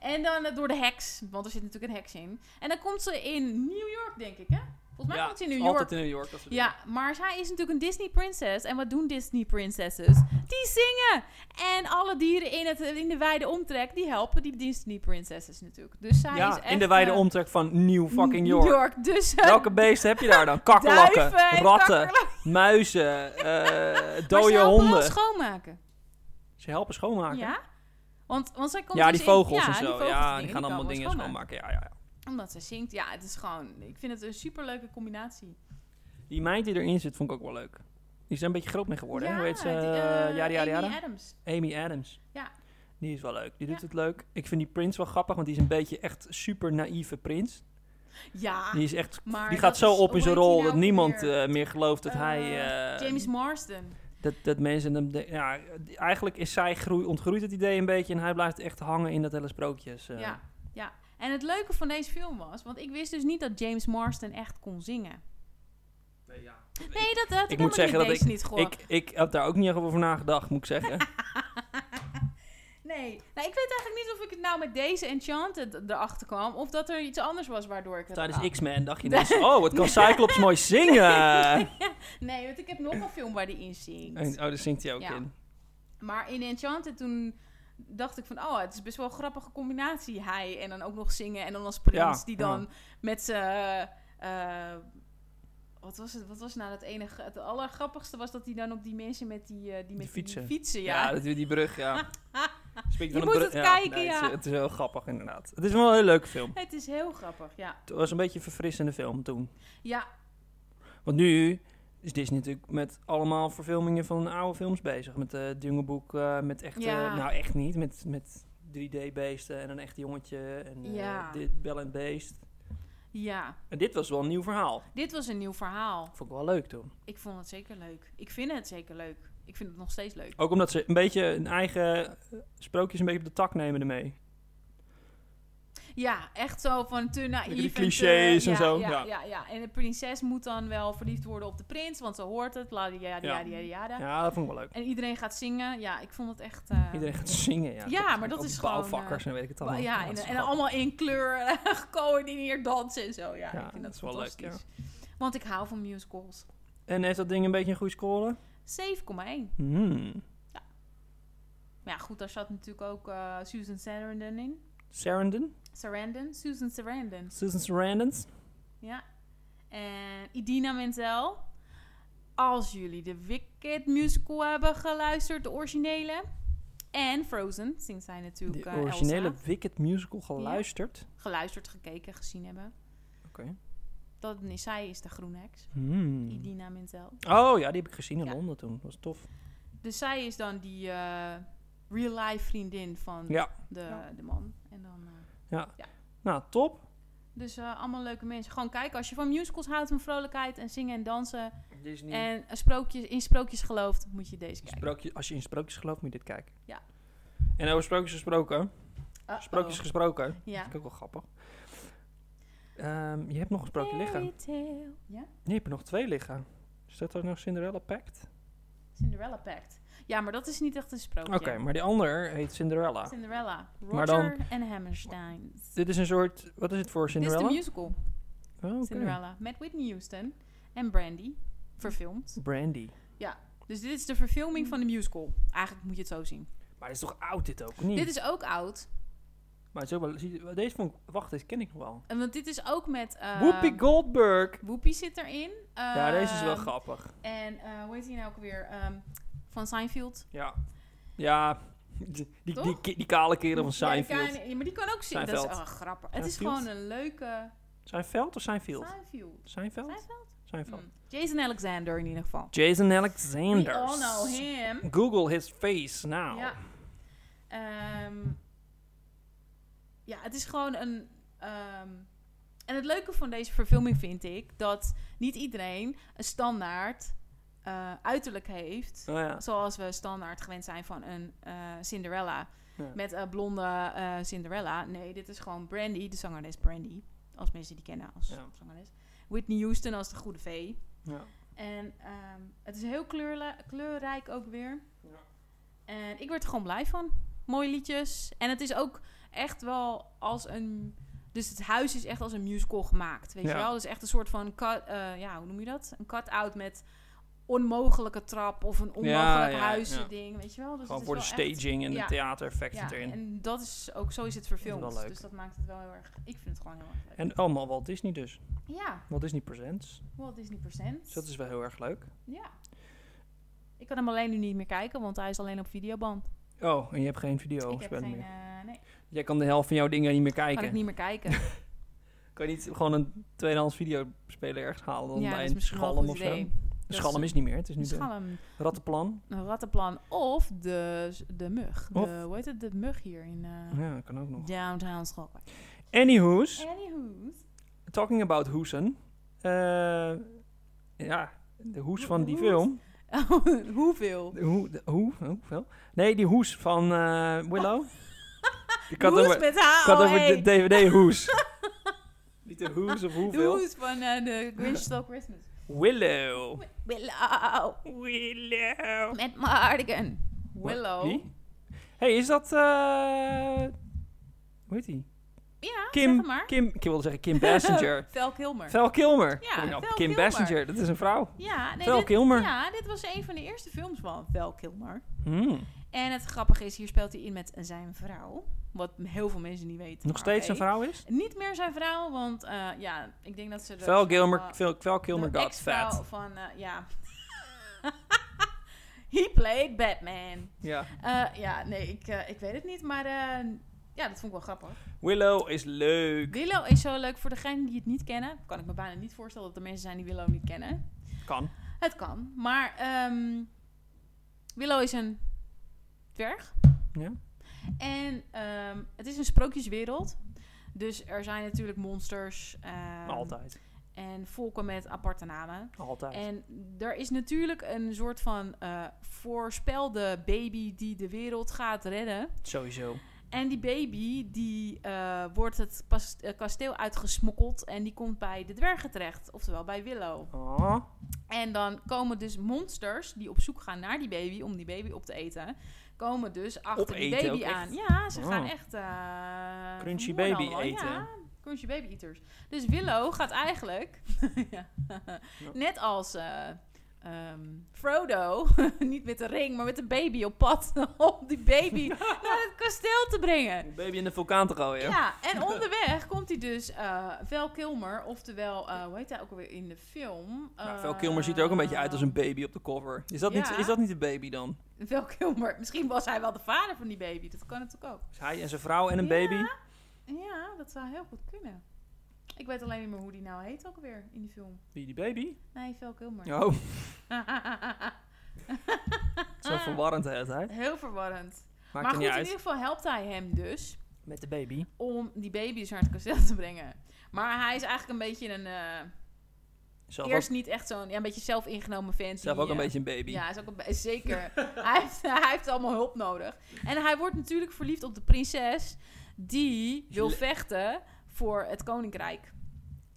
Speaker 4: En dan eh, door de heks, want er zit natuurlijk een heks in. En dan komt ze in New York, denk ik, hè? Volgens mij
Speaker 3: Ja,
Speaker 4: komt ze in
Speaker 3: het is
Speaker 4: New York.
Speaker 3: Altijd in New York. dat soort
Speaker 4: Ja, maar zij is natuurlijk een Disney prinses. En wat doen Disney princesses? Die zingen! En alle dieren in, het, in de wijde omtrek, die helpen die Disney princesses natuurlijk. Dus zij
Speaker 3: dingen.
Speaker 4: is
Speaker 3: Ja,
Speaker 4: echt...
Speaker 3: in de wijde
Speaker 4: eh,
Speaker 3: omtrek van New fucking York.
Speaker 4: Dus eh,
Speaker 3: Welke beesten heb je daar dan? Kakkerlakken,
Speaker 4: duiven en
Speaker 3: ratten,
Speaker 4: kakkerlakken.
Speaker 3: muizen, eh
Speaker 4: Maar ze
Speaker 3: dode
Speaker 4: helpen wel
Speaker 3: honden.
Speaker 4: schoonmaken.
Speaker 3: Ze helpen schoonmaken.
Speaker 4: Ja? Want, want zij komt
Speaker 3: Ja,
Speaker 4: dus
Speaker 3: die
Speaker 4: in-
Speaker 3: vogels
Speaker 4: ja,
Speaker 3: en zo.
Speaker 4: vogels en
Speaker 3: ja,
Speaker 4: dingen,
Speaker 3: die gaan
Speaker 4: die
Speaker 3: allemaal
Speaker 4: komen
Speaker 3: dingen schoonmaken. Ja, ja, ja.
Speaker 4: Omdat ze zingt. Ja, het is gewoon... Ik vind het een superleuke combinatie.
Speaker 3: Die meid die erin zit, vond ik ook wel leuk. Die is een beetje groot mee geworden.
Speaker 4: ja,
Speaker 3: hè? Hoe heet ze?
Speaker 4: die, eh,
Speaker 3: Eh, Yada, yada,
Speaker 4: Amy
Speaker 3: yada?
Speaker 4: Adams.
Speaker 3: Amy Adams.
Speaker 4: Ja.
Speaker 3: Die is wel leuk. Die doet
Speaker 4: Ja.
Speaker 3: het leuk. Ik vind die prins wel grappig, want die is een beetje echt super naïeve prins.
Speaker 4: Ja.
Speaker 3: Die is echt...
Speaker 4: Ah, Maar
Speaker 3: die gaat
Speaker 4: dat
Speaker 3: zo
Speaker 4: is-
Speaker 3: op in
Speaker 4: hoe
Speaker 3: zijn
Speaker 4: heet
Speaker 3: rol
Speaker 4: die nou
Speaker 3: dat
Speaker 4: ook
Speaker 3: niemand
Speaker 4: weer?
Speaker 3: eh, meer gelooft dat
Speaker 4: Eh,
Speaker 3: hij... eh,
Speaker 4: James Marsden.
Speaker 3: Dat, dat mensen hem... de- ja, die- eigenlijk is zij groei, ontgroeit het idee een beetje en hij blijft echt hangen in dat hele sprookjes. eh.
Speaker 4: Ja, ja. En het leuke van deze film was, want ik wist dus niet dat James Marston echt kon zingen. Nee, dat had ik,
Speaker 3: moet
Speaker 4: helemaal
Speaker 3: zeggen
Speaker 4: in
Speaker 3: dat
Speaker 4: deze niet gehoord.
Speaker 3: Ik, ik heb daar ook niet echt over nagedacht, moet ik zeggen.
Speaker 4: Nee, nou, ik weet eigenlijk niet of ik het nou met deze Enchanted erachter kwam, of dat er iets anders was waardoor ik het
Speaker 3: Tijdens
Speaker 4: kwam.
Speaker 3: X-Men dacht je dus, oh, wat kan Cyclops mooi zingen.
Speaker 4: Nee, want ik heb nog een film waar die in zingt.
Speaker 3: En- oh, daar zingt hij ook
Speaker 4: Ja.
Speaker 3: in.
Speaker 4: Maar in Enchanted toen dacht ik van, oh, het is best wel een grappige combinatie. Hij en dan ook nog zingen en dan als prins
Speaker 3: Ja,
Speaker 4: die dan met zijn... eh, wat was het? Wat was nou het enige? Het allergrappigste was dat hij dan op die mensen met die, eh, die, met die
Speaker 3: fietsen.
Speaker 4: ja.
Speaker 3: Ja, dat, die brug, ja. Spreekt
Speaker 4: Je
Speaker 3: van een
Speaker 4: moet
Speaker 3: brug-
Speaker 4: het kijken,
Speaker 3: nee, Het,
Speaker 4: ja.
Speaker 3: is, het is heel grappig, inderdaad. Het is wel een heel leuke film.
Speaker 4: Het is heel grappig, ja.
Speaker 3: Het was een beetje een verfrissende film toen.
Speaker 4: Ja,
Speaker 3: Want nu is Disney natuurlijk met allemaal verfilmingen van oude films bezig. Met eh Djungelboek, eh, met echt...
Speaker 4: Ja.
Speaker 3: nou, echt niet. Met, met 3D-beesten en een echt jongetje. En eh,
Speaker 4: Ja.
Speaker 3: dit, Bel en Beest.
Speaker 4: ja.
Speaker 3: En dit was wel een nieuw verhaal.
Speaker 4: Dit was een nieuw verhaal.
Speaker 3: Vond ik wel leuk toen.
Speaker 4: Ik vond het zeker leuk. Ik vind het zeker leuk. Ik vind het nog steeds leuk.
Speaker 3: Ook omdat ze een beetje hun eigen eh, sprookjes een beetje op de tak nemen ermee.
Speaker 4: Ja, echt zo van te naïef.
Speaker 3: Met die
Speaker 4: en te-
Speaker 3: clichés en
Speaker 4: ja,
Speaker 3: zo,
Speaker 4: Ja,
Speaker 3: ja.
Speaker 4: ja. ja, En de prinses moet dan wel verliefd worden op de prins, want ze hoort het. la di ja, di ja, di ja, di ja, da.
Speaker 3: Ja, dat vond ik wel leuk.
Speaker 4: En iedereen gaat zingen. Ja, ik vond het echt... eh,
Speaker 3: Iedereen gaat zingen, ja.
Speaker 4: Ja,
Speaker 3: zijn
Speaker 4: maar dat
Speaker 3: ook
Speaker 4: is gewoon, eh,
Speaker 3: bouwvakkers en weet ik het allemaal.
Speaker 4: ja,
Speaker 3: dat
Speaker 4: en,
Speaker 3: is
Speaker 4: en
Speaker 3: grappig.
Speaker 4: allemaal in kleur gecoördineerd dansen en zo. Ja,
Speaker 3: Ja,
Speaker 4: ik vind
Speaker 3: dat
Speaker 4: dat,
Speaker 3: is wel leuk,
Speaker 4: fantastisch. Want ik hou van musicals. 7,1.
Speaker 3: En heeft dat ding een beetje een goede score? Hmm.
Speaker 4: Maar ja, goed, daar zat natuurlijk ook eh, Susan Sarandon in.
Speaker 3: Sarandon?
Speaker 4: Sarandon? Susan Sarandon.
Speaker 3: Susan Sarandon?
Speaker 4: Ja. En Idina Menzel. Als jullie de Wicked musical hebben geluisterd, de originele. En Frozen, zingt zij
Speaker 3: De
Speaker 4: natuurlijk eh,
Speaker 3: originele
Speaker 4: Elsa.
Speaker 3: Wicked musical geluisterd.
Speaker 4: Geluisterd, gekeken, gezien hebben.
Speaker 3: Oké.
Speaker 4: Dat is, zij is de groene heks.
Speaker 3: Hmm.
Speaker 4: Idina Menzel.
Speaker 3: Oh ja, die heb ik gezien in
Speaker 4: Ja.
Speaker 3: Londen toen. Dat was tof.
Speaker 4: Dus zij is dan die eh, real-life vriendin van
Speaker 3: Ja.
Speaker 4: de,
Speaker 3: Ja.
Speaker 4: de man. En dan, eh,
Speaker 3: Nou, top.
Speaker 4: dus eh, allemaal leuke mensen. Gewoon kijken. Als je van musicals houdt, van vrolijkheid en zingen en dansen.
Speaker 3: Disney.
Speaker 4: En eh, sprookjes, in sprookjes gelooft, moet je deze kijken.
Speaker 3: Sprookje, als je in sprookjes gelooft, moet je dit kijken.
Speaker 4: Ja.
Speaker 3: En over sprookjes gesproken.
Speaker 4: Uh-oh.
Speaker 3: Sprookjes gesproken.
Speaker 4: Ja.
Speaker 3: Dat vind ik ook wel grappig. Ehm, je hebt nog een sprookje liggen. Nee,
Speaker 4: Fairy tale. Ja?
Speaker 3: je hebt er nog twee liggen. Is dat er nog Cinderella Pact?
Speaker 4: Cinderella Pact. Ja, maar dat is niet echt een sprookje.
Speaker 3: Oké, maar die ander heet Cinderella.
Speaker 4: Cinderella.
Speaker 3: Maar
Speaker 4: Roger en Hammerstein.
Speaker 3: Dit is een soort... Wat is het voor
Speaker 4: Dit is de
Speaker 3: Cinderella?
Speaker 4: musical.
Speaker 3: Oh, oké.
Speaker 4: Cinderella. Met Whitney Houston en Brandy. Verfilmd.
Speaker 3: Brandy.
Speaker 4: Dus dit is de verfilming van de musical. Eigenlijk moet je het zo zien.
Speaker 3: Maar het is toch oud dit ook, of niet?
Speaker 4: Dit is ook oud.
Speaker 3: Maar het is ook wel... zie je- Deze vond ik... Wacht, deze ken ik nog wel.
Speaker 4: En want dit is ook met... eh,
Speaker 3: Whoopi Goldberg!
Speaker 4: Whoopi zit erin.
Speaker 3: ja, deze is wel
Speaker 4: Ehm,
Speaker 3: grappig.
Speaker 4: En eh, hoe heet hij nou ook weer? Ehm, van Seinfeld.
Speaker 3: Ja. Ja, die, die,
Speaker 4: Toch?
Speaker 3: die, ki- die kale kerel van
Speaker 4: Ja,
Speaker 3: Seinfeld.
Speaker 4: die kan- ja, maar die kan ook zingen. Dat is
Speaker 3: Seinfeld.
Speaker 4: wel grappig. Het is
Speaker 3: Seinfeld?
Speaker 4: gewoon een leuke...
Speaker 3: Seinfeld of Seinfeld?
Speaker 4: Seinfeld.
Speaker 3: Seinfeld? Seinfeld.
Speaker 4: Hmm. Jason Alexander in ieder geval.
Speaker 3: Jason
Speaker 4: We
Speaker 3: Alexander.
Speaker 4: all know him.
Speaker 3: Google his face now.
Speaker 4: Ja. Ehm, ja, het is gewoon een... ehm, en het leuke van deze verfilming vind ik... dat niet iedereen een standaard eh, uiterlijk heeft...
Speaker 3: Oh ja.
Speaker 4: Zoals we standaard gewend zijn van een eh, Cinderella.
Speaker 3: Ja.
Speaker 4: Met een blonde eh, Cinderella. Nee, dit is gewoon Brandy, de zangeres Brandy. Als mensen die kennen als
Speaker 3: Ja.
Speaker 4: zangeres. Whitney Houston als de goede vee.
Speaker 3: Ja.
Speaker 4: En ehm, het is heel kleurla- kleurrijk ook weer.
Speaker 3: Ja.
Speaker 4: En ik werd er gewoon blij van. Mooie liedjes. En het is ook echt wel als een... Dus het huis is echt als een musical gemaakt, weet
Speaker 3: Ja.
Speaker 4: je wel? Dus echt een soort van... Cut, eh, ja, hoe noem je dat? Een cut-out met onmogelijke trap of een onmogelijk
Speaker 3: Ja, ja, ja.
Speaker 4: huisding, weet je wel? Dus het
Speaker 3: Gewoon
Speaker 4: is
Speaker 3: voor de
Speaker 4: wel echt-
Speaker 3: staging en
Speaker 4: ja.
Speaker 3: de theatereffecten
Speaker 4: ja,
Speaker 3: erin. En,
Speaker 4: en dat is ook... Zo is het verfilmd.
Speaker 3: Dat is wel leuk.
Speaker 4: Dus dat maakt het wel heel erg... Ik vind het gewoon heel erg leuk.
Speaker 3: allemaal Walt Disney dus.
Speaker 4: ja,
Speaker 3: Walt Disney Presents.
Speaker 4: Walt Disney Presents.
Speaker 3: Dus dat is wel heel erg leuk.
Speaker 4: Ja. Ik kan hem alleen nu niet meer kijken, want hij is alleen op videoband.
Speaker 3: Oh, en je hebt geen
Speaker 4: ik
Speaker 3: video
Speaker 4: heb geen...
Speaker 3: meer.
Speaker 4: eh, nee,
Speaker 3: Jij kan de helft van jouw dingen niet meer
Speaker 4: kan ik
Speaker 3: kijken.
Speaker 4: niet meer kijken.
Speaker 3: Kan je niet gewoon een tweedehands videospeler ergens halen dan
Speaker 4: ja, dat
Speaker 3: bij
Speaker 4: is
Speaker 3: een
Speaker 4: misschien wel een
Speaker 3: schalm
Speaker 4: goed
Speaker 3: of zo?
Speaker 4: idee.
Speaker 3: De
Speaker 4: Dat
Speaker 3: schalm
Speaker 4: is-
Speaker 3: is niet meer, het is nu
Speaker 4: Een
Speaker 3: de
Speaker 4: schalm,
Speaker 3: rattenplan.
Speaker 4: een rattenplan of de, de mug. De,
Speaker 3: Of-
Speaker 4: hoe heet het? De mug hier in eh,
Speaker 3: Ja, kan ook nog.
Speaker 4: downtown Schalkwijk.
Speaker 3: Anywho's.
Speaker 4: Anywho's.
Speaker 3: Talking about hoesen. Eh, ja, de hoes
Speaker 4: Ho-
Speaker 3: van die
Speaker 4: hoes?
Speaker 3: film.
Speaker 4: Hoeveel?
Speaker 3: De hoe, de hoe, hoeveel? Nee, die hoes van eh, Willow. Ik had
Speaker 4: Hoes
Speaker 3: over,
Speaker 4: met
Speaker 3: ik
Speaker 4: haar.
Speaker 3: had
Speaker 4: oh,
Speaker 3: over de
Speaker 4: hey.
Speaker 3: DVD-hoes. Niet de hoes of
Speaker 4: De
Speaker 3: hoeveel.
Speaker 4: hoes van eh, de Grinch Stole Christmas.
Speaker 3: Willow.
Speaker 4: Willow.
Speaker 3: Willow.
Speaker 4: Met Mardigan. Willow.
Speaker 3: Wie? hey, is dat... eh hoe heet die?
Speaker 4: Ja,
Speaker 3: Kim,
Speaker 4: zeg het maar.
Speaker 3: Kim, ik wilde zeggen Kim Basinger.
Speaker 4: Vel Kilmer.
Speaker 3: Val Kilmer.
Speaker 4: Ja,
Speaker 3: Kom ik nou op
Speaker 4: Val
Speaker 3: Kim
Speaker 4: Kilmer.
Speaker 3: Basinger, dat is een vrouw.
Speaker 4: Ja, nee,
Speaker 3: Val
Speaker 4: dit-
Speaker 3: Kilmer.
Speaker 4: Ja, dit was een van de eerste films van Val Kilmer.
Speaker 3: Hmm.
Speaker 4: En het grappige is, hier speelt hij in met zijn vrouw. Wat heel veel mensen niet weten.
Speaker 3: Nog
Speaker 4: maar
Speaker 3: steeds
Speaker 4: oké.
Speaker 3: een vrouw is?
Speaker 4: Niet meer zijn vrouw, want eh, ja, ik denk dat ze... de-
Speaker 3: Val
Speaker 4: eh,
Speaker 3: Kilmer, Val, Val Kilmer
Speaker 4: de
Speaker 3: got
Speaker 4: ex-vrouw
Speaker 3: fat.
Speaker 4: van, eh, ja... He played Batman.
Speaker 3: Ja.
Speaker 4: Eh, ja, nee, ik, eh, ik weet het niet, maar eh, ja, dat vond ik wel grappig.
Speaker 3: Willow is leuk.
Speaker 4: Willow is zo leuk voor degenen die het niet kennen. Kan ik me bijna niet voorstellen dat er mensen zijn die Willow niet kennen.
Speaker 3: Kan.
Speaker 4: Het kan, maar ehm, Willow is een dwerg.
Speaker 3: Ja.
Speaker 4: En ehm, het is een sprookjeswereld. Dus er zijn natuurlijk monsters. ehm,
Speaker 3: Altijd.
Speaker 4: En volken met aparte namen.
Speaker 3: Altijd.
Speaker 4: En er is natuurlijk een soort van eh, voorspelde baby die de wereld gaat redden.
Speaker 3: Sowieso.
Speaker 4: En die baby die eh, wordt het pas- eh, kasteel uitgesmokkeld. En die komt bij de dwergen terecht. Oftewel bij Willow.
Speaker 3: Oh.
Speaker 4: En dan komen dus monsters die op zoek gaan naar die baby om die baby op te eten. Komen dus achter
Speaker 3: Opeten
Speaker 4: die
Speaker 3: ook
Speaker 4: baby
Speaker 3: echt?
Speaker 4: aan. Ja, ze
Speaker 3: Oh.
Speaker 4: gaan echt. eh,
Speaker 3: Crunchy
Speaker 4: van boord
Speaker 3: baby
Speaker 4: allemaal. Ja,
Speaker 3: eten.
Speaker 4: crunchy baby eaters. Dus Willow gaat eigenlijk. ja, Net als. eh, ehm, Frodo, niet met de ring, maar met de baby op pad om die baby naar het kasteel te brengen.
Speaker 3: Een baby in de vulkaan te gooien.
Speaker 4: Ja, en onderweg komt hij dus eh Val Kilmer, oftewel, eh, hoe heet hij ook alweer in de film?
Speaker 3: Nou,
Speaker 4: Eh,
Speaker 3: Val Kilmer ziet er ook een beetje uit als een baby op de cover. Is dat,
Speaker 4: Ja.
Speaker 3: niet, is dat niet de baby dan?
Speaker 4: Val Kilmer, misschien was hij wel de vader van die baby, dat kan natuurlijk ook.
Speaker 3: Is Dus hij en zijn vrouw en een
Speaker 4: Ja.
Speaker 3: baby?
Speaker 4: Ja, dat zou heel goed kunnen. Ik weet alleen niet meer hoe die nou heet ook alweer in die film.
Speaker 3: Wie die baby?
Speaker 4: Nee, Val Kilmer.
Speaker 3: Oh, Zo
Speaker 4: Ah.
Speaker 3: verwarrend de hele tijd.
Speaker 4: Heel verwarrend.
Speaker 3: Maakt
Speaker 4: maar
Speaker 3: er
Speaker 4: goed,
Speaker 3: niet
Speaker 4: in
Speaker 3: uit.
Speaker 4: ieder geval helpt hij hem dus
Speaker 3: Met de baby.
Speaker 4: om die baby dus naar het kasteel te brengen. Maar hij is eigenlijk een beetje een... eh,
Speaker 3: Zelf
Speaker 4: eerst
Speaker 3: ook,
Speaker 4: niet echt zo'n... Ja, een beetje zelf ingenomen fan.
Speaker 3: zelf
Speaker 4: die,
Speaker 3: ook een
Speaker 4: eh,
Speaker 3: beetje een baby.
Speaker 4: Ja, hij is ook een be- zeker. hij, heeft, hij heeft allemaal hulp nodig. En hij wordt natuurlijk verliefd op de prinses die wil
Speaker 3: Le-
Speaker 4: vechten voor het koninkrijk.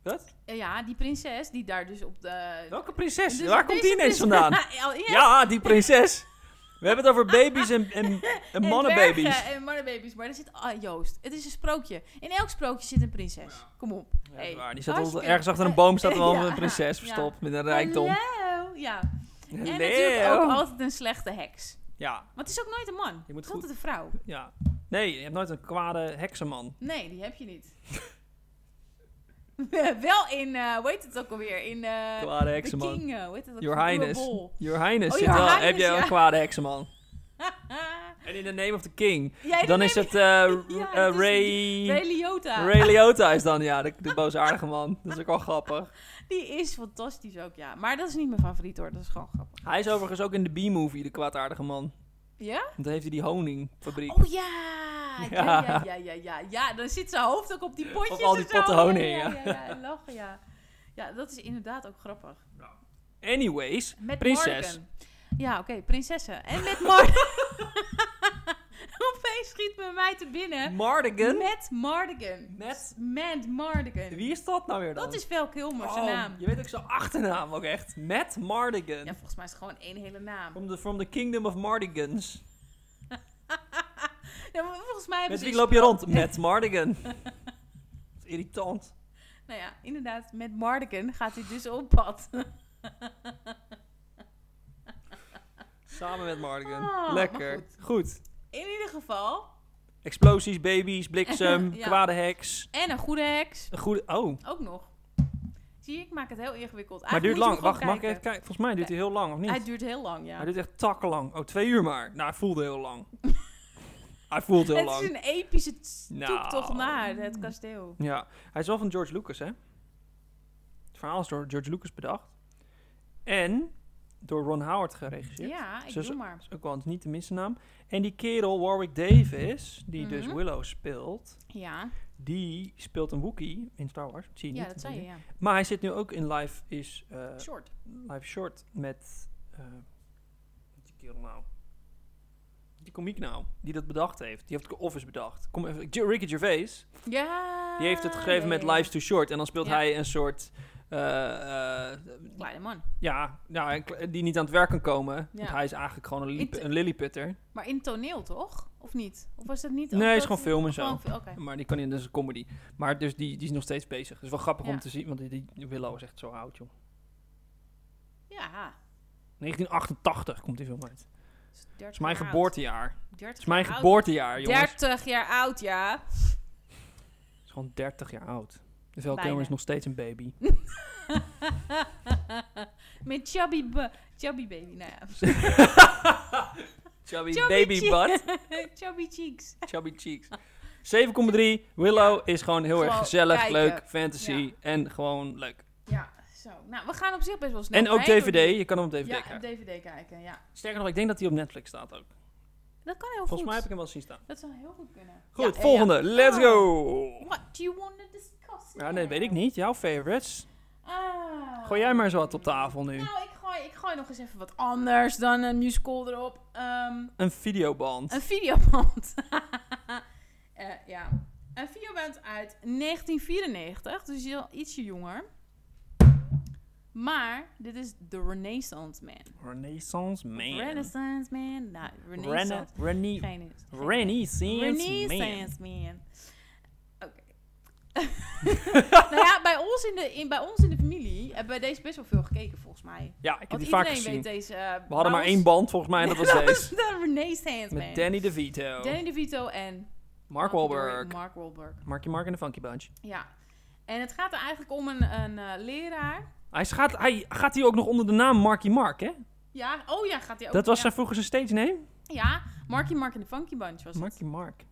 Speaker 3: Wat?
Speaker 4: Eh, Ja, die prinses die daar dus op de...
Speaker 3: Welke prinses?
Speaker 4: Dus
Speaker 3: Waar komt die
Speaker 4: deze
Speaker 3: ineens
Speaker 4: prins-
Speaker 3: vandaan?
Speaker 4: Ja, oh, ja,
Speaker 3: Ja, die prinses. We hebben het over baby's en, en, en
Speaker 4: en
Speaker 3: mannenbaby's.
Speaker 4: dwergen En mannenbabies. Maar er zit... Ah, Joost, het is een sprookje. In elk sprookje zit een prinses. Kom op.
Speaker 3: Ja, dat is
Speaker 4: Hey,
Speaker 3: waar. Die staat
Speaker 4: hartstikke-
Speaker 3: altijd ergens achter een boom staat er wel
Speaker 4: Ja,
Speaker 3: een prinses
Speaker 4: ja.
Speaker 3: verstopt met een rijkdom.
Speaker 4: Hallo. Ja. En natuurlijk
Speaker 3: Leeuw.
Speaker 4: ook altijd een slechte heks.
Speaker 3: Ja,
Speaker 4: Want het is ook nooit een man.
Speaker 3: Je moet
Speaker 4: het is
Speaker 3: goed-
Speaker 4: altijd een vrouw.
Speaker 3: ja. Nee, je hebt nooit een kwade heksenman.
Speaker 4: Nee, die heb je niet. Wel in, eh, hoe heet het ook alweer? In eh
Speaker 3: Kwade
Speaker 4: The
Speaker 3: heksenman.
Speaker 4: King, eh, hoe heet het ook?
Speaker 3: Your
Speaker 4: Uwe
Speaker 3: Highness.
Speaker 4: Bol.
Speaker 3: Your Highness
Speaker 4: Oh,
Speaker 3: zit
Speaker 4: Your
Speaker 3: wel.
Speaker 4: Highness,
Speaker 3: heb je
Speaker 4: ja.
Speaker 3: een kwade heksenman.
Speaker 4: Haha.
Speaker 3: En in the name of the king.
Speaker 4: Ah, Jij
Speaker 3: dan
Speaker 4: doet
Speaker 3: is
Speaker 4: mee-
Speaker 3: het eh, r-
Speaker 4: Ja,
Speaker 3: eh,
Speaker 4: dat is Ray
Speaker 3: Ray...
Speaker 4: Liotta.
Speaker 3: Ray Liotta is dan, ja. De, de boosaardige man. Dat is ook wel grappig.
Speaker 4: Die is fantastisch ook, ja. Maar dat is niet mijn favoriet hoor, dat is gewoon grappig.
Speaker 3: Hij is overigens ook in de B-movie, de kwaadaardige man.
Speaker 4: Ja?
Speaker 3: Want dan heeft hij die honingfabriek.
Speaker 4: Oh ja! Ja, ja, ja, ja, ja. Ja, dan zit zijn hoofd ook op die potjes
Speaker 3: Op al die
Speaker 4: en zo.
Speaker 3: potten honing,
Speaker 4: Ja,
Speaker 3: ja.
Speaker 4: ja, ja, en lachen, ja. Ja, dat is inderdaad ook grappig.
Speaker 3: Anyways,
Speaker 4: Met
Speaker 3: prinses.
Speaker 4: Marken. Ja, oké, prinsessen. En met Mardigan. Opeens schiet mijn mij te binnen.
Speaker 3: Mardigan?
Speaker 4: Met Mardigan.
Speaker 3: Met-
Speaker 4: Met Mardigan.
Speaker 3: Wie is dat nou weer dan?
Speaker 4: Dat is Vel Kilmer, zijn
Speaker 3: Oh,
Speaker 4: naam.
Speaker 3: Je weet ook zijn achternaam ook echt. Matt Mardigan.
Speaker 4: Ja, volgens mij is het gewoon één hele naam.
Speaker 3: From, the, from the Kingdom of Mardigans.
Speaker 4: Ja, maar volgens mij hebben
Speaker 3: Met wie
Speaker 4: ze dus-
Speaker 3: loop je rond? Matt Mardigan. Dat is irritant.
Speaker 4: Nou ja, inderdaad, met Mardigan gaat hij dus op pad.
Speaker 3: Samen met Mardigan.
Speaker 4: Ah,
Speaker 3: Lekker.
Speaker 4: maar
Speaker 3: Goed.
Speaker 4: In ieder geval.
Speaker 3: Explosies, baby's, bliksem,
Speaker 4: Ja.
Speaker 3: kwade heks.
Speaker 4: En een goede heks.
Speaker 3: Een goede... Oh.
Speaker 4: Ook nog. Zie je, ik maak het heel ingewikkeld.
Speaker 3: Maar duurt lang.
Speaker 4: Eigenlijk moet je hem
Speaker 3: Wacht,
Speaker 4: gewoon
Speaker 3: mag ik even kijken? Volgens mij duurt hij heel lang, of niet?
Speaker 4: Hij duurt heel lang, ja.
Speaker 3: Hij duurt echt takkenlang. Oh, twee uur maar. Nou, hij voelde heel lang. hij voelt heel
Speaker 4: het
Speaker 3: lang.
Speaker 4: is een epische toektocht
Speaker 3: Nou.
Speaker 4: naar het kasteel.
Speaker 3: Ja, hij is wel van George Lucas, hè? Het verhaal is door George Lucas bedacht. En door Ron Howard geregisseerd.
Speaker 4: Ja, ik
Speaker 3: Zo-
Speaker 4: doe maar.
Speaker 3: Dat is ook wel niet te missen naam. En die kerel, Warwick Davis, die dus
Speaker 4: Mhm.
Speaker 3: Willow speelt,
Speaker 4: Ja,
Speaker 3: die speelt een Wookiee in Star Wars. Dat zie je
Speaker 4: ja
Speaker 3: niet.
Speaker 4: dat zei je, ja.
Speaker 3: Maar hij zit nu ook in Live is eh,
Speaker 4: Short.
Speaker 3: Live Short met... eh, wat is die kerel nou? Die komiek nou, die dat bedacht heeft. Die heeft The Office bedacht. Kom even, Ricky Gervais.
Speaker 4: Ja.
Speaker 3: Die heeft het gegeven
Speaker 4: ja,
Speaker 3: met
Speaker 4: ja, ja.
Speaker 3: Life's Too Short. En dan speelt
Speaker 4: Ja.
Speaker 3: hij een soort... eh, eh,
Speaker 4: Kleine man.
Speaker 3: ja, ja, een kle- die niet aan het werk kan komen. Want
Speaker 4: Ja.
Speaker 3: hij is eigenlijk gewoon een, liep-
Speaker 4: Int-
Speaker 3: een lilliputter.
Speaker 4: Maar in toneel toch? Of niet? Of was dat niet?
Speaker 3: Nee,
Speaker 4: of
Speaker 3: het is
Speaker 4: dat-
Speaker 3: gewoon film en zo.
Speaker 4: gewoon fi- Oké.
Speaker 3: Maar die kan in dus een comedy. Maar dus die, die is nog steeds bezig. Dus wel grappig om
Speaker 4: Ja.
Speaker 3: te zien. Want die, die Willow is echt zo oud, joh.
Speaker 4: Ja.
Speaker 3: 1988 komt die film uit. Het
Speaker 4: dus 30
Speaker 3: is mijn
Speaker 4: jaar oud.
Speaker 3: geboortejaar.
Speaker 4: 30
Speaker 3: Het is mijn
Speaker 4: jaar oud.
Speaker 3: geboortejaar, jongens.
Speaker 4: 30 jaar oud, ja.
Speaker 3: Het is gewoon 30 jaar oud. Dus wel
Speaker 4: Bijna.
Speaker 3: Kilmer is nog steeds een baby.
Speaker 4: met chubby, bu- chubby baby. Nou ja.
Speaker 3: Chubby,
Speaker 4: Chubby
Speaker 3: baby
Speaker 4: cheek.
Speaker 3: butt.
Speaker 4: chubby cheeks.
Speaker 3: Chubby Cheeks. 7,3. Willow is gewoon heel erg
Speaker 4: Gewoon
Speaker 3: gezellig,
Speaker 4: kijken.
Speaker 3: leuk, fantasy
Speaker 4: Ja.
Speaker 3: en gewoon leuk.
Speaker 4: Ja, zo. Nou, we gaan op zich best wel snel.
Speaker 3: en ook
Speaker 4: heen,
Speaker 3: DVD, je kan hem op
Speaker 4: door
Speaker 3: DVD
Speaker 4: die- Ja, op
Speaker 3: kijken.
Speaker 4: DVD kijken, ja.
Speaker 3: Sterker nog, ik denk dat hij op Netflix staat ook.
Speaker 4: Dat kan heel
Speaker 3: Volgens
Speaker 4: goed.
Speaker 3: mij heb ik hem wel zien staan.
Speaker 4: Dat zou heel goed kunnen. Ja,
Speaker 3: Goed,
Speaker 4: ja,
Speaker 3: volgende.
Speaker 4: ja.
Speaker 3: Let's
Speaker 4: Oh.
Speaker 3: go!
Speaker 4: What do you want to discuss?
Speaker 3: Ja, nee,
Speaker 4: now?
Speaker 3: weet ik niet. Jouw favorites.
Speaker 4: Ah.
Speaker 3: Gooi jij maar eens wat op tafel nu.
Speaker 4: Nou, ik gooi, ik gooi nog eens even wat anders dan een musical erop. Ehm,
Speaker 3: Een videoband.
Speaker 4: een videoband. Eh, ja. Een videoband uit 1994, dus heel ietsje jonger. Maar dit is The Renaissance Man.
Speaker 3: Renaissance Man.
Speaker 4: Renaissance Man. Nou,
Speaker 3: Rena-
Speaker 4: Renaissance.
Speaker 3: Rene-
Speaker 4: Geen- geen-
Speaker 3: Renaissance Man.
Speaker 4: Renaissance man. Oké. nou ja, bij ons, in de, in, bij ons in de familie hebben wij deze best wel veel gekeken, volgens mij.
Speaker 3: Ja, ik heb
Speaker 4: Want
Speaker 3: die
Speaker 4: iedereen
Speaker 3: vaak gezien.
Speaker 4: weet deze. eh,
Speaker 3: We hadden maar één band volgens mij en dat was deze.
Speaker 4: De Renaissance man.
Speaker 3: Met Danny DeVito.
Speaker 4: Danny DeVito en...
Speaker 3: Mark Wahlberg.
Speaker 4: Mark Wahlberg,
Speaker 3: Marky Mark en de Funky Bunch.
Speaker 4: ja. En het gaat er eigenlijk om een, een eh, leraar.
Speaker 3: Hij gaat, hij gaat hier ook nog onder de naam Marky Mark, hè?
Speaker 4: Ja, oh ja, gaat hij ook...
Speaker 3: dat was
Speaker 4: ja.
Speaker 3: zijn vroeger zijn stage name?
Speaker 4: Ja, Marky Mark en de Funky Bunch was het.
Speaker 3: Marky Mark.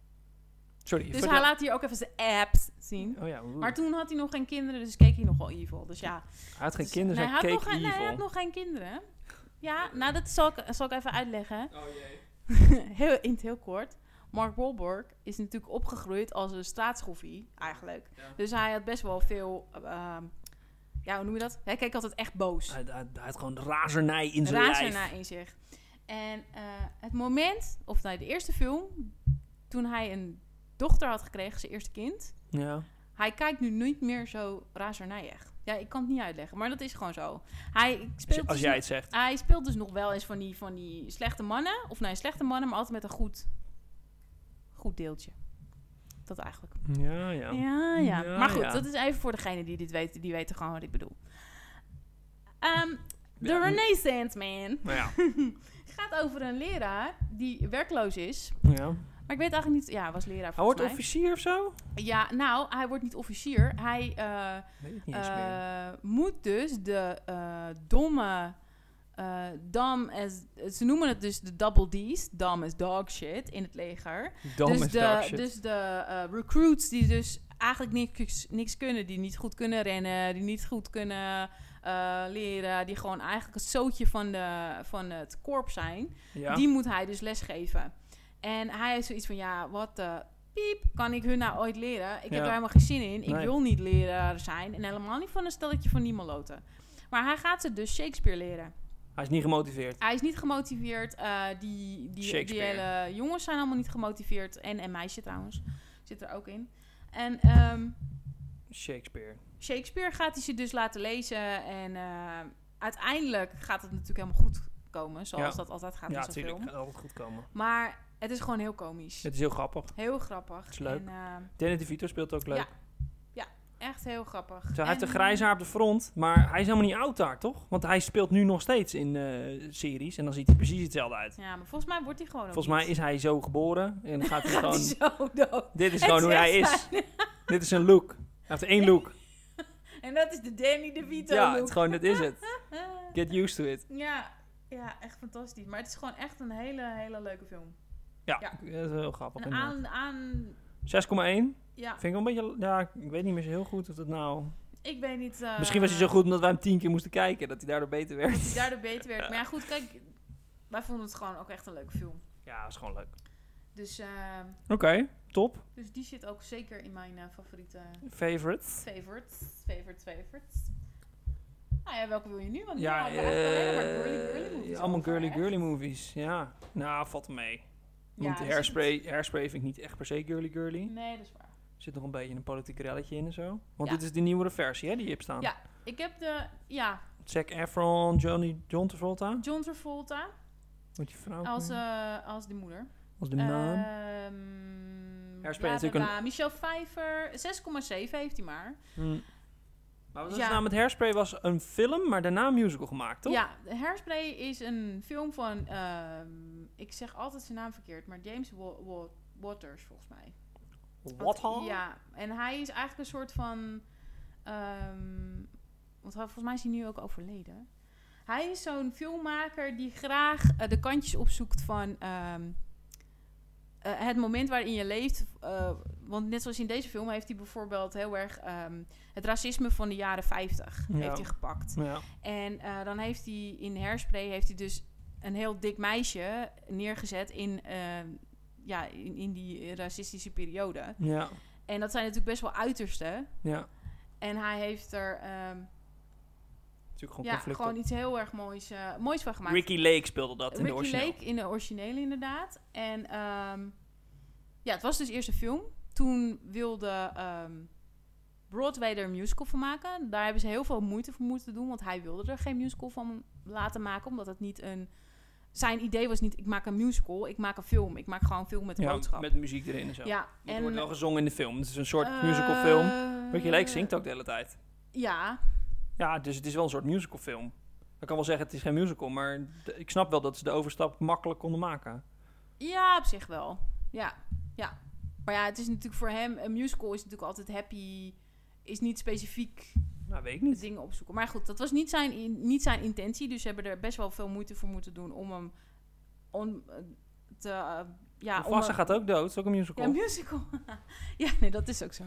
Speaker 3: Sorry.
Speaker 4: Dus hij
Speaker 3: vertel-
Speaker 4: laat hier ook even zijn apps zien.
Speaker 3: Oh ja, oeh.
Speaker 4: Maar toen had hij nog geen kinderen, dus keek hij nogal evil. Dus ja,
Speaker 3: hij had geen
Speaker 4: Dus-
Speaker 3: kinderen,
Speaker 4: nee,
Speaker 3: hij
Speaker 4: hij had
Speaker 3: cake
Speaker 4: nog geen- nee,
Speaker 3: evil.
Speaker 4: hij had nog geen kinderen. Ja, nou dat zal ik, zal ik even uitleggen.
Speaker 3: Oh jee.
Speaker 4: heel, in het heel kort. Mark Wahlberg is natuurlijk opgegroeid als een straatschoffie, eigenlijk.
Speaker 3: Ja.
Speaker 4: Dus hij had best wel veel... ehm, ja, hoe noem je dat? Hij keek altijd echt boos.
Speaker 3: Hij, hij, hij had gewoon razernij Ah, in zijn
Speaker 4: razernij
Speaker 3: lijf.
Speaker 4: in zich. En eh, het moment, of nou de eerste film, toen hij een dochter had gekregen, zijn eerste kind.
Speaker 3: Ja.
Speaker 4: Hij kijkt nu niet meer zo razernijig. Ja, ik kan het niet uitleggen, maar dat is gewoon zo. Hij
Speaker 3: Als,
Speaker 4: speelt,
Speaker 3: als
Speaker 4: dus,
Speaker 3: jij
Speaker 4: nog,
Speaker 3: het zegt.
Speaker 4: hij speelt dus nog wel eens van die, van die slechte mannen. Of nee, slechte mannen, maar altijd met een goed, goed deeltje. Dat eigenlijk.
Speaker 3: Ja, ja.
Speaker 4: Ja, ja.
Speaker 3: Ja,
Speaker 4: maar goed,
Speaker 3: ja.
Speaker 4: dat is even voor degene die dit weten. Die weten gewoon wat ik bedoel. Ehm, de
Speaker 3: Ja.
Speaker 4: Renaissance Man
Speaker 3: Nou ja.
Speaker 4: gaat over een leraar die werkloos is.
Speaker 3: ja.
Speaker 4: Maar ik weet eigenlijk niet... Ja, hij was leraar
Speaker 3: Hij
Speaker 4: volgens
Speaker 3: wordt
Speaker 4: mij.
Speaker 3: officier of zo?
Speaker 4: Ja, nou, hij wordt niet officier. Hij eh,
Speaker 3: Weet ik niet eens meer.
Speaker 4: eh, moet dus de eh, domme... eh dam as... Ze noemen het dus de double D's. Dam is dog shit in het leger.
Speaker 3: Dom
Speaker 4: dus,
Speaker 3: is dark
Speaker 4: de,
Speaker 3: shit.
Speaker 4: dus de eh, recruits die dus eigenlijk niks, niks kunnen, die niet goed kunnen rennen, die niet goed kunnen eh, leren, die gewoon eigenlijk het zootje van, de, van het korps zijn,
Speaker 3: ja.
Speaker 4: die moet hij dus lesgeven. En hij heeft zoiets van, ja, wat de piep, kan ik hun nou ooit leren? Ik heb
Speaker 3: Ja.
Speaker 4: daar helemaal geen zin in, ik
Speaker 3: Nee.
Speaker 4: wil niet leraar zijn en helemaal niet van een stelletje van die maloten. Maar hij gaat ze dus Shakespeare leren.
Speaker 3: Hij is niet gemotiveerd.
Speaker 4: Hij is niet gemotiveerd. eh, die, die, die
Speaker 3: Shakespeare.
Speaker 4: hele jongens zijn allemaal niet gemotiveerd. En, en meisje trouwens. Zit er ook in. En ehm,
Speaker 3: Shakespeare.
Speaker 4: Shakespeare gaat hij ze dus laten lezen. En eh, uiteindelijk gaat het natuurlijk helemaal goed komen. Zoals
Speaker 3: Ja.
Speaker 4: dat altijd gaat
Speaker 3: ja,
Speaker 4: met zo'n
Speaker 3: natuurlijk.
Speaker 4: film.
Speaker 3: Gaat altijd goed komen.
Speaker 4: Maar het is gewoon heel komisch.
Speaker 3: Het is heel grappig.
Speaker 4: Heel grappig.
Speaker 3: is leuk.
Speaker 4: En, eh,
Speaker 3: Danny DeVito speelt ook leuk.
Speaker 4: Ja. echt heel grappig.
Speaker 3: Zo, hij heeft
Speaker 4: En-
Speaker 3: een grijze haar op de front, maar hij is helemaal niet oud daar, toch? Want hij speelt nu nog steeds in eh, series en dan ziet hij precies hetzelfde uit.
Speaker 4: eh, Ja, maar volgens mij wordt hij gewoon ook
Speaker 3: Volgens mij
Speaker 4: niet.
Speaker 3: is hij zo geboren en dan gaat hij
Speaker 4: Gaat
Speaker 3: gewoon...
Speaker 4: hij zo dood.
Speaker 3: Dit is gewoon
Speaker 4: Het
Speaker 3: hoe hij is.
Speaker 4: echt
Speaker 3: Dit is een look. Hij heeft één look.
Speaker 4: En dat is de Danny DeVito
Speaker 3: ja, het,
Speaker 4: look. Eh,
Speaker 3: is gewoon, dit is het. Get used to it.
Speaker 4: Ja, ja, echt fantastisch. Maar het is gewoon echt een hele, hele leuke film.
Speaker 3: Ja,
Speaker 4: Ja.
Speaker 3: dat is heel grappig.
Speaker 4: Een
Speaker 3: inderdaad. 6,1
Speaker 4: aan, aan, ja,
Speaker 3: vind ik wel een beetje... Ja, ik weet niet meer zo heel goed of dat nou...
Speaker 4: ik weet niet. eh,
Speaker 3: Misschien was hij zo goed omdat wij hem tien keer moesten kijken, dat hij daardoor beter
Speaker 4: Dat
Speaker 3: werd.
Speaker 4: hij daardoor beter werd. Maar ja, goed, kijk, wij vonden het gewoon ook echt een leuke film.
Speaker 3: Ja, dat is gewoon leuk.
Speaker 4: Dus, eh,
Speaker 3: Oké, top.
Speaker 4: dus die zit ook zeker in mijn eh, favoriete
Speaker 3: Favorites.
Speaker 4: favorites. Favorites, favorites. Nou ja, welke wil je nu? Want
Speaker 3: Ja,
Speaker 4: ja, we hebben eigenlijk alleen maar girly, girly
Speaker 3: eh,
Speaker 4: movies
Speaker 3: allemaal
Speaker 4: over,
Speaker 3: girly
Speaker 4: hè?
Speaker 3: girly movies. Ja, nou, valt mee.
Speaker 4: Ja,
Speaker 3: Want
Speaker 4: er zit-
Speaker 3: hairspray, hairspray vind ik niet echt per se girly girly.
Speaker 4: Nee, dat is waar.
Speaker 3: Er zit nog een beetje een politiek relletje in en zo. Want
Speaker 4: Ja.
Speaker 3: dit is de nieuwere versie, hè, die je hebt staan.
Speaker 4: Ja. Ik heb de, ja,
Speaker 3: Zac Efron, Johnny, John Travolta.
Speaker 4: John Travolta
Speaker 3: Wat je vrouw ook
Speaker 4: als,
Speaker 3: weer?
Speaker 4: eh, als de moeder.
Speaker 3: als de naam.
Speaker 4: Ehm,
Speaker 3: Hairspray is
Speaker 4: bla,
Speaker 3: natuurlijk
Speaker 4: bla, bla. Michel Pfeiffer, 6,7 heeft hij maar.
Speaker 3: Hm. Maar wat was
Speaker 4: ja.
Speaker 3: het nou met Hairspray? was een film, maar daarna een musical gemaakt, toch?
Speaker 4: Ja, Hairspray is een film van, ehm, ik zeg altijd zijn naam verkeerd, maar James Wa- Wa- Waters volgens mij.
Speaker 3: Wat al?
Speaker 4: Ja, en hij is eigenlijk een soort van, ehm, want hij- volgens mij is hij nu ook overleden. Hij is zo'n filmmaker die graag eh, de kantjes opzoekt van ehm, eh, het moment waarin je leeft. eh, want net zoals in deze film heeft hij bijvoorbeeld heel erg ehm, het racisme van de jaren 50
Speaker 3: Ja.
Speaker 4: heeft hij gepakt.
Speaker 3: Ja.
Speaker 4: En eh, dan heeft hij in Hairspray heeft hij dus een heel dik meisje neergezet in, eh, ja, in, in die racistische periode.
Speaker 3: Ja.
Speaker 4: En dat zijn natuurlijk best wel uitersten.
Speaker 3: Ja.
Speaker 4: En hij heeft er ehm,
Speaker 3: Natuurlijk gewoon
Speaker 4: ja,
Speaker 3: conflict.
Speaker 4: gewoon iets heel erg moois, eh, moois van gemaakt.
Speaker 3: Ricky Lake speelde dat in de
Speaker 4: Ricky
Speaker 3: origineel.
Speaker 4: Lake in de originele inderdaad. En ehm, ja, het was dus eerst een film. Toen wilde ehm, Broadway er een musical van maken. Daar hebben ze heel veel moeite voor moeten doen, want hij wilde er geen musical van laten maken, omdat het niet een zijn idee was niet ik maak een musical, ik maak een film, ik maak gewoon een film met een boodschap.
Speaker 3: met muziek erin en zo.
Speaker 4: ja, eh,
Speaker 3: Want er wordt wel gezongen in de film. Het is een soort musicalfilm. Ricky Lake zingt ook de hele tijd.
Speaker 4: Ja,
Speaker 3: Ja, dus het is wel een soort musicalfilm. Ik kan wel zeggen, het is geen musical, maar d- ik snap wel dat ze de overstap makkelijk konden maken.
Speaker 4: Ja, op zich wel. Ja, ja. Maar ja, het is natuurlijk voor hem... Een musical is natuurlijk altijd happy... Is niet specifiek
Speaker 3: Nou, weet ik niet.
Speaker 4: dingen opzoeken. Maar goed, dat was niet zijn, in- niet zijn intentie. Dus ze hebben er best wel veel moeite voor moeten doen... om hem om, eh, te, eh, ja,
Speaker 3: Mufasa
Speaker 4: onder-
Speaker 3: gaat ook dood, dat is ook een musical.
Speaker 4: Ja, musical. ja, nee, dat is ook zo.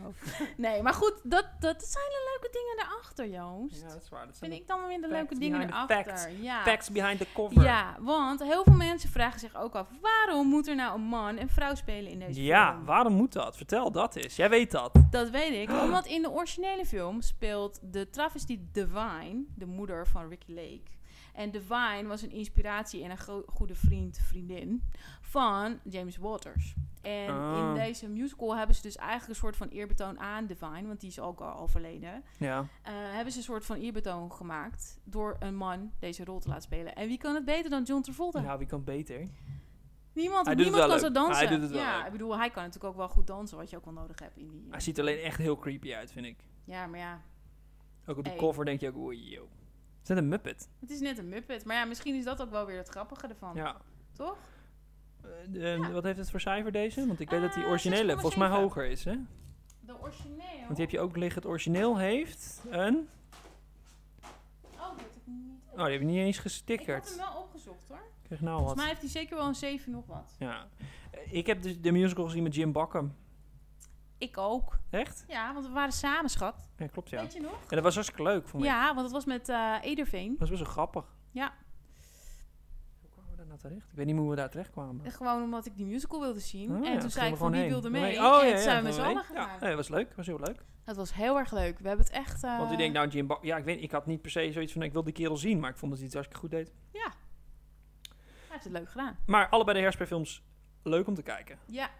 Speaker 4: Nee, maar goed, dat, dat zijn de leuke dingen daarachter, Joost.
Speaker 3: Ja, dat is waar. Dat zijn
Speaker 4: Vind ik dan weer de
Speaker 3: facts
Speaker 4: leuke dingen
Speaker 3: behind the
Speaker 4: erachter.
Speaker 3: facts.
Speaker 4: Ja.
Speaker 3: facts behind the cover.
Speaker 4: Ja, want heel veel mensen vragen zich ook af... waarom moet er nou een man en vrouw spelen in deze
Speaker 3: Ja,
Speaker 4: film?
Speaker 3: waarom moet dat? Vertel dat eens. Jij weet dat.
Speaker 4: Dat weet ik, omdat in de originele film speelt de travestie Divine... de moeder van Ricky Lake. En Divine was een inspiratie en een gro- goede vriend, vriendin... van James Waters. En
Speaker 3: Ah.
Speaker 4: in deze musical hebben ze dus eigenlijk een soort van eerbetoon aan Divine... want die is ook al overleden.
Speaker 3: Ja.
Speaker 4: Eh, hebben ze een soort van eerbetoon gemaakt... door een man deze rol te laten spelen. En wie kan het beter dan John Travolta?
Speaker 3: Ja, wie kan beter?
Speaker 4: Niemand,
Speaker 3: Hij doet het
Speaker 4: niemand kan
Speaker 3: wel
Speaker 4: zo
Speaker 3: leuk.
Speaker 4: dansen.
Speaker 3: Hij doet het wel
Speaker 4: ja,
Speaker 3: leuk.
Speaker 4: ik bedoel, hij kan natuurlijk ook wel goed dansen, wat je ook wel nodig hebt in die.
Speaker 3: Hij ziet er alleen echt heel creepy uit, vind ik.
Speaker 4: Ja, maar ja,
Speaker 3: Ook op de
Speaker 4: Hey.
Speaker 3: cover denk je ook, oei, yo. Is dat een Muppet?
Speaker 4: het is net een muppet. Maar ja, misschien is dat ook wel weer het grappige ervan,
Speaker 3: Ja.
Speaker 4: toch?
Speaker 3: Eh, de- Wat heeft het voor cijfer deze? Want ik weet dat die
Speaker 4: Eh,
Speaker 3: originele volgens mij
Speaker 4: 6,7.
Speaker 3: hoger is, hè?
Speaker 4: De origineel.
Speaker 3: Want die heb je ook liggen. Het origineel heeft een...
Speaker 4: Oh, dat heb ik niet.
Speaker 3: Oh, die heb ik niet eens
Speaker 4: Ik heb
Speaker 3: gestickerd.
Speaker 4: hem wel opgezocht hoor.
Speaker 3: Ik kreeg nou
Speaker 4: Volgens
Speaker 3: wat.
Speaker 4: mij heeft hij zeker wel een 7 nog wat.
Speaker 3: Ja. Eh, Ik heb dus de musical gezien met Jim Buckham.
Speaker 4: Ik ook.
Speaker 3: Echt?
Speaker 4: Ja, want we waren samen, schat.
Speaker 3: Ja, klopt ja.
Speaker 4: Weet je nog?
Speaker 3: En dat was hartstikke leuk, vond ik.
Speaker 4: Ja, want het was met eh Ederveen.
Speaker 3: Dat was best wel grappig.
Speaker 4: Ja.
Speaker 3: Hoe kwamen we daar nou terecht? Ik weet niet hoe we daar terecht kwamen.
Speaker 4: Gewoon omdat ik die musical wilde zien.
Speaker 3: Oh, ja,
Speaker 4: en toen
Speaker 3: gingen
Speaker 4: zei
Speaker 3: we
Speaker 4: ik van wie
Speaker 3: heen.
Speaker 4: wilde
Speaker 3: Toen
Speaker 4: mee.
Speaker 3: we- Oh,
Speaker 4: en
Speaker 3: ja,
Speaker 4: toen
Speaker 3: ja,
Speaker 4: zijn we dus
Speaker 3: toen
Speaker 4: met z'n
Speaker 3: mee.
Speaker 4: allen
Speaker 3: Ja,
Speaker 4: gegaan.
Speaker 3: nee, was leuk. was heel leuk.
Speaker 4: Het was heel erg leuk. We hebben het echt... eh,
Speaker 3: Want ik denk nou, Jim Buck- Ja, ik weet ik had niet per se zoiets van... Ik wil die kerel zien, maar ik vond dat hij het hartstikke goed deed.
Speaker 4: Hij heeft het leuk gedaan.
Speaker 3: Maar allebei de Hairspray-films leuk om te kijken.
Speaker 4: Ja.